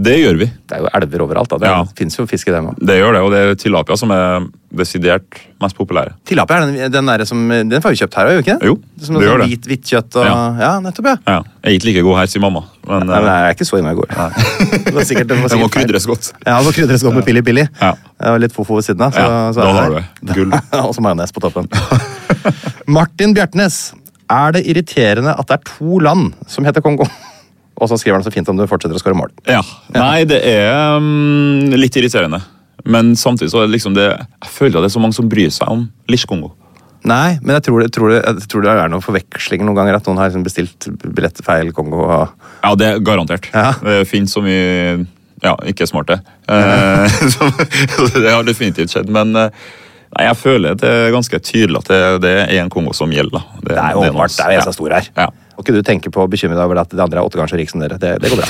S3: Det gjør vi.
S2: Det er jo elver overalt. da. Det
S3: Ja.
S2: fins jo fisk i dem òg.
S3: Det gjør det, og det er tilapia som er desidert mest populære.
S2: Tilapia er den, den, der som, den får vi kjøpt her òg, ikke
S3: Jo,
S2: som
S3: det
S2: sånn
S3: gjør det.
S2: Hvit, hvitt kjøtt og Ja,
S3: Ja.
S2: nettopp, ja.
S3: Ja. Jeg er ikke like god her, sier mamma. Men,
S2: Nei,
S3: eh,
S2: men jeg er ikke så inne i går. Det var sikkert, det var
S3: det må
S2: sikkert feil.
S3: krydres godt.
S2: Ja, så krydres godt med Pili Pili.
S3: Ja.
S2: Og litt fofo ved siden av. Så,
S3: Ja,
S2: så
S3: da
S2: er
S3: har
S2: det.
S3: du det. Gull.
S2: og så majones på toppen. Martin Bjertnæs. Er det irriterende at det er to land som heter Kongo? Og så skriver han så fint om du fortsetter å skåre mål.
S3: Ja. Nei, det er mm, litt irriterende. Men samtidig så er det liksom det Jeg føler at det er så mange som bryr seg om Lisj-Kongo.
S2: Nei, men jeg tror det, tror det, jeg tror det er noen forvekslinger noen ganger. At noen har liksom bestilt billett feil Kongo. Og...
S3: Ja, det er garantert.
S2: Ja.
S3: Det finnes så mye ja, ikke smarte. Eh, som- det har definitivt skjedd, men eh, nei, jeg føler det er ganske tydelig at det, det er én Kongo som gjelder. da.
S2: Det er jo
S3: noe-
S2: åpenbart. Det er jo en som er
S3: ja.
S2: stor her.
S3: Ja.
S2: Og ikke du tenker på å bekymre deg over at de andre er åtte ganger så rike som dere. Det, det går bra.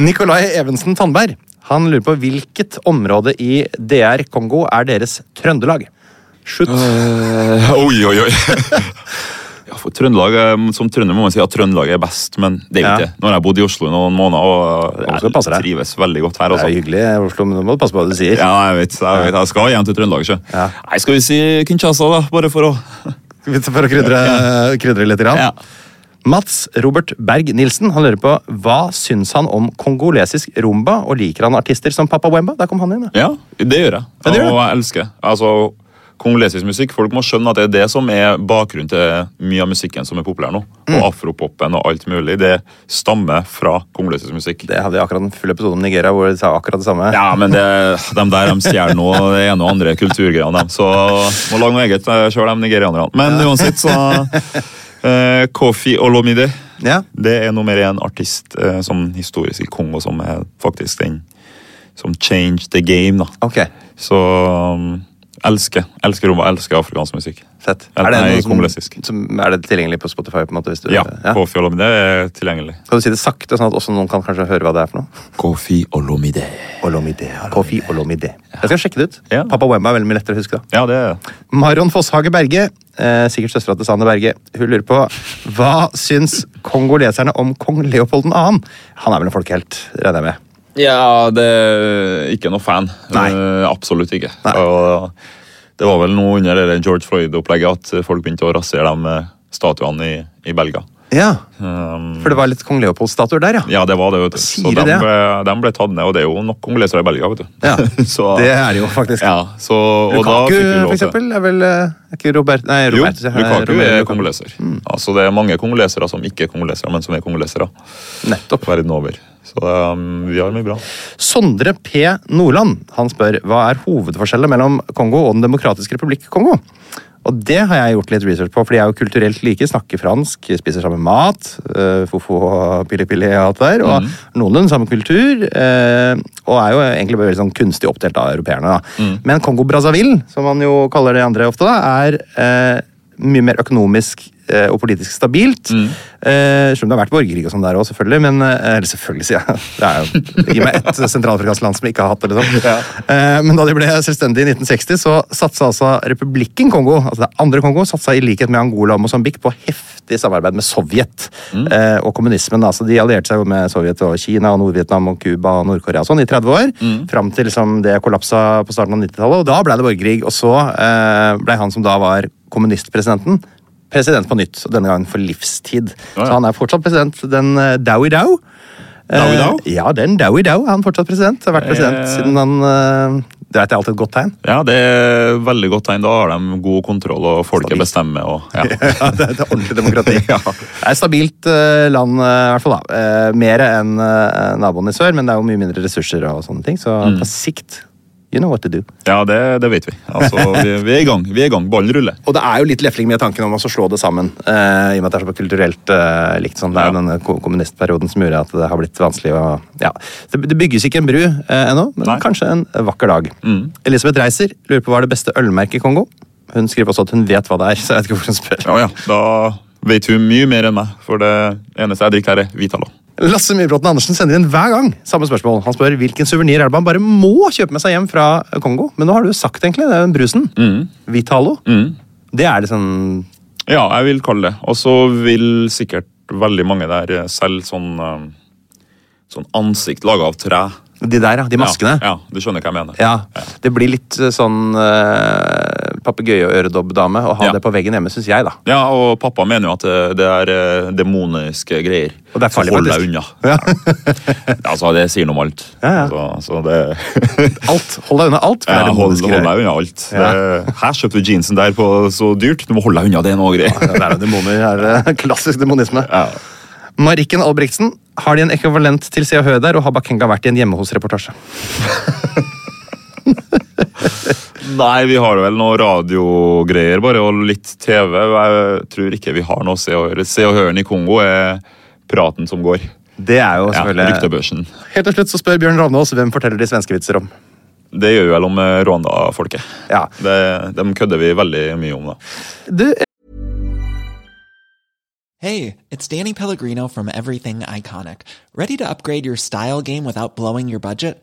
S2: Nikolai Evensen Tandberg han lurer på hvilket område i DR Kongo er deres Trøndelag? Slutt.
S3: Eh, Oi, oi, oi. Ja, for Trøndelag, eh, Som trønder må man si at Trøndelag er best, men det er jo
S2: Ja.
S3: ikke det. Nå har jeg bodd i Oslo i noen måneder og
S2: Ja, så passer det.
S3: trives veldig godt her.
S2: Det er
S3: Altså.
S2: jo hyggelig, Oslo, men nå må du passe på hva du sier.
S3: Ja, jeg vet, jeg vet. Jeg skal hjem til Trøndelag. Ikke?
S2: Ja.
S3: Nei, skal vi si Kinshasa, da? Bare for å
S2: For å krydre, krydre litt. Grann.
S3: Ja.
S2: Mats Robert Berg-Nilsen han lurer på hva syns han om kongolesisk rumba, og liker han artister som Papa Wemba? Der kom han inn, ja.
S3: Ja, det gjør jeg.
S2: Ja, det gjør du.
S3: og jeg elsker altså, kongolesisk musikk. Folk må skjønne at det er det som er bakgrunnen til mye av musikken som er populær nå.
S2: Mm.
S3: Og afropopen og alt mulig. Det stammer fra kongolesisk musikk.
S2: Det hadde vi akkurat en full episode om Nigeria, hvor de sa akkurat det samme.
S3: Ja, men det, de der de stjeler nå det ene og andre kulturgreiene, dem. Så må lage noe eget sjøl, de nigerianerne. Men uansett, så eh, Kofi Olomide.
S2: Ja.
S3: Det er nummer én artist eh, som historisk i Kongo, som er faktisk den som changed the game, da.
S2: Ok,
S3: Så um, elsker elsker rumba, elsker afrikansk musikk.
S2: fett.
S3: Ja, nei,
S2: noe
S3: kongolesisk.
S2: som, som, er det tilgjengelig på Spotify? på en måte? Hvis du,
S3: Ja, Kofi Olomide er tilgjengelig.
S2: Skal du si det sakte, sånn at også noen kan kanskje høre hva det er for noe?
S3: Kofi Olomide.
S2: Olomide. Kofi Olomide. Jeg skal sjekke det ut.
S3: Ja.
S2: Papa Wemba er veldig mye lettere å huske. da.
S3: Ja, det er det.
S2: Marion Fosshage Berge, eh, sikkert søstera til Sanne Berge, hun lurer på hva syns kongoleserne om kong Leopold 2.? Han er vel en folkehelt, regner jeg med.
S3: Ja, det er ikke noe fan.
S2: Nei.
S3: Eh, absolutt ikke.
S2: Nei.
S3: Og uh, det var vel noe under det der George Floyd-opplegget at uh, folk begynte å rasere de eh, statuene i, i Belgia.
S2: Ja,
S3: Um,
S2: For det var litt kong Leopold-statuer der, ja.
S3: ja, det var det. vet du.
S2: Sier
S3: Så
S2: de
S3: de
S2: det?
S3: ble, de ble tatt ned, og det er jo nok kongolesere i Belgia. vet du.
S2: Ja,
S3: Så-
S2: Det er det jo faktisk.
S3: Ja, så, og da
S2: Lukaku,
S3: fikk vi lov
S2: for
S3: til-
S2: eksempel, er vel eh, er ikke Robert, nei,
S3: Jo,
S2: Robert, sier jeg. Nei,
S3: Lukaku
S2: Romelu
S3: er
S2: Lukaku.
S3: kongoleser. Altså, det er mange kongolesere som ikke er kongolesere, men som er kongolesere.
S2: Nettopp.
S3: Verden over. Så um, vi har mye bra.
S2: Sondre P. Nordland han spør hva er hovedforskjellen mellom Kongo og Den demokratiske republikk Kongo. Og Det har jeg gjort litt research på, for de er jo kulturelt like. Snakker fransk, spiser samme mat. øh, Fofo og pili-pili og alt det der. Og noenlunde samme kultur. øh, og er jo egentlig bare veldig sånn kunstig oppdelt av europeerne. da. Men Kongo-Brazzaville, som man jo kaller det andre ofte, da, er øh, mye mer økonomisk eh, og politisk stabilt. Eh, selv om det har vært borgerkrig og sånn der òg, selvfølgelig. Men, eh, eller selvfølgelig, sier jeg. Det er jo, Gi meg ett sentralafrikansk land som ikke har hatt det. liksom. Eh, men da de ble selvstendige i 1960, så satsa altså republikken Kongo altså det andre Kongo, satsa i likhet med Angola og Mosambik på heftig samarbeid med Sovjet eh, og kommunismen. Altså, de allierte seg jo med Sovjet og Kina og Nord-Vietnam og Cuba og Nord-Korea og sånn i 30 år. Fram til liksom, det kollapsa på starten av 90-tallet, og da ble det borgerkrig. Og så eh, ble han som da var kommunistpresidenten, president på nytt. Og denne gangen for livstid.
S3: Ja, ja.
S2: Så han er fortsatt president, den eh, Dowie Dow.
S3: Dowie Dow?
S2: Eh, ja, den Dowie Dow er han fortsatt president. Har vært president
S3: Eh.
S2: siden han eh, Det vet jeg alltid et godt tegn.
S3: Ja, det er veldig godt tegn. Da har de god kontroll, og folket
S2: Stabilt.
S3: bestemmer. Og, ja.
S2: Ja, det er et ordentlig demokrati. Det er et stabilt eh, land, eh, i hvert fall. da. Eh, Mer enn eh, naboen i sør, men det er jo mye mindre ressurser og sånne ting. Så
S3: Mm.
S2: på sikt You know what to do.
S3: ja, det, det vet vi. Altså, vi, vi er i gang. vi er i gang. Ballen ruller.
S2: Og det er jo litt lefling med tanken om å slå det sammen. eh, I og med at det er så kulturelt eh, likt. sånn. Det er
S3: Ja.
S2: denne ko- kommunistperioden som gjorde at det har blitt vanskelig å ja. det, det bygges ikke en bru eh, ennå, men
S3: Nei. Mm.
S2: kanskje en vakker dag. Elisabeth Reiser lurer på hva er det beste ølmerket i Kongo? Hun skriver også at hun vet hva det er, så jeg vet ikke hvorfor hun spør.
S3: Ja, ja. Da vet hun mye mer enn meg, for det eneste jeg drikker her, er Vitalo.
S2: Lasse Myrbråten Andersen sender inn hver gang samme spørsmål. Han spør hvilken suvenir er det man bare må kjøpe med seg hjem fra Kongo. Men nå har du jo sagt egentlig, det er den brusen.
S3: Mm.
S2: Vitalo. Det er liksom
S3: Ja, jeg vil kalle det. Og så vil sikkert veldig mange der eh, selge sånn, eh, sånn ansikt laga av tre.
S2: De der, ja. De maskene.
S3: Ja, ja, du skjønner hva jeg mener.
S2: Ja, Det blir litt eh, sånn uh, papegøyeøredobb-dame å ha
S3: Ja.
S2: det på veggen hjemme, syns jeg, da.
S3: Ja, og pappa mener jo at eh, det er eh, demoniske greier.
S2: Og det er farlig,
S3: så hold deg
S2: faktisk.
S3: unna. altså, det sier noe om alt.
S2: Ja, ja.
S3: Så, så det
S2: Alt, Hold deg unna alt. for
S3: Ja,
S2: det er
S3: hold,
S2: demoniske
S3: hold
S2: greier.
S3: deg unna alt.
S2: Ja.
S3: Det, her kjøpte du jeansen der på så dyrt. Du må holde deg unna det nå. Greier.
S2: Ja, Det er jo demoner. det er, eh, Klassisk demonisme. Marikken Albrigtsen, har de en ekvivalent til Se og Hør der, og har Bakenga vært i en hjemme hos-reportasje?
S3: Nei, vi har vel noe radiogreier bare, og litt TV. Jeg tror ikke vi har noe Se og Hør. Se og Høren i Kongo er praten som går.
S2: Det er jo
S3: Ja,
S2: selvfølgelig
S3: Ryktebørsen.
S2: Helt til slutt så spør Bjørn Ravnås hvem forteller de svenske vitser om.
S3: Det gjør vi vel om eh, Rwanda-folket.
S2: Ja.
S3: Det- Dem kødder vi veldig mye om, da.
S2: Du,
S5: Hey, it's Danny Pellegrino from Everything Iconic. Ready to upgrade your style game without blowing your budget?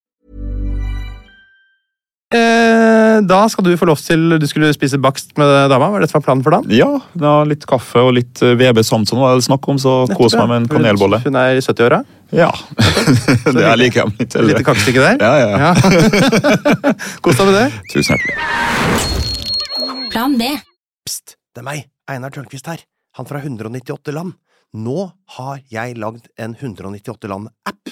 S2: eh, da skal du få lov til Du skulle spise bakst med dama. Var dette var planen for dagen?
S3: Ja, da, litt kaffe og litt eh, VB Samson var det snakk om, så kos meg med en kanelbolle.
S2: Hun er i 70-åra.
S3: Ja. Det er like jeg litt. eller?
S2: Lite kakestykke der.
S3: Ja, ja, ja.
S2: Kos deg med det.
S3: Tusen hjertelig.
S6: Plan B.
S7: Pst, det er meg, Einar Tørnquist her, han fra 198 land. Nå har jeg lagd en 198 land-app,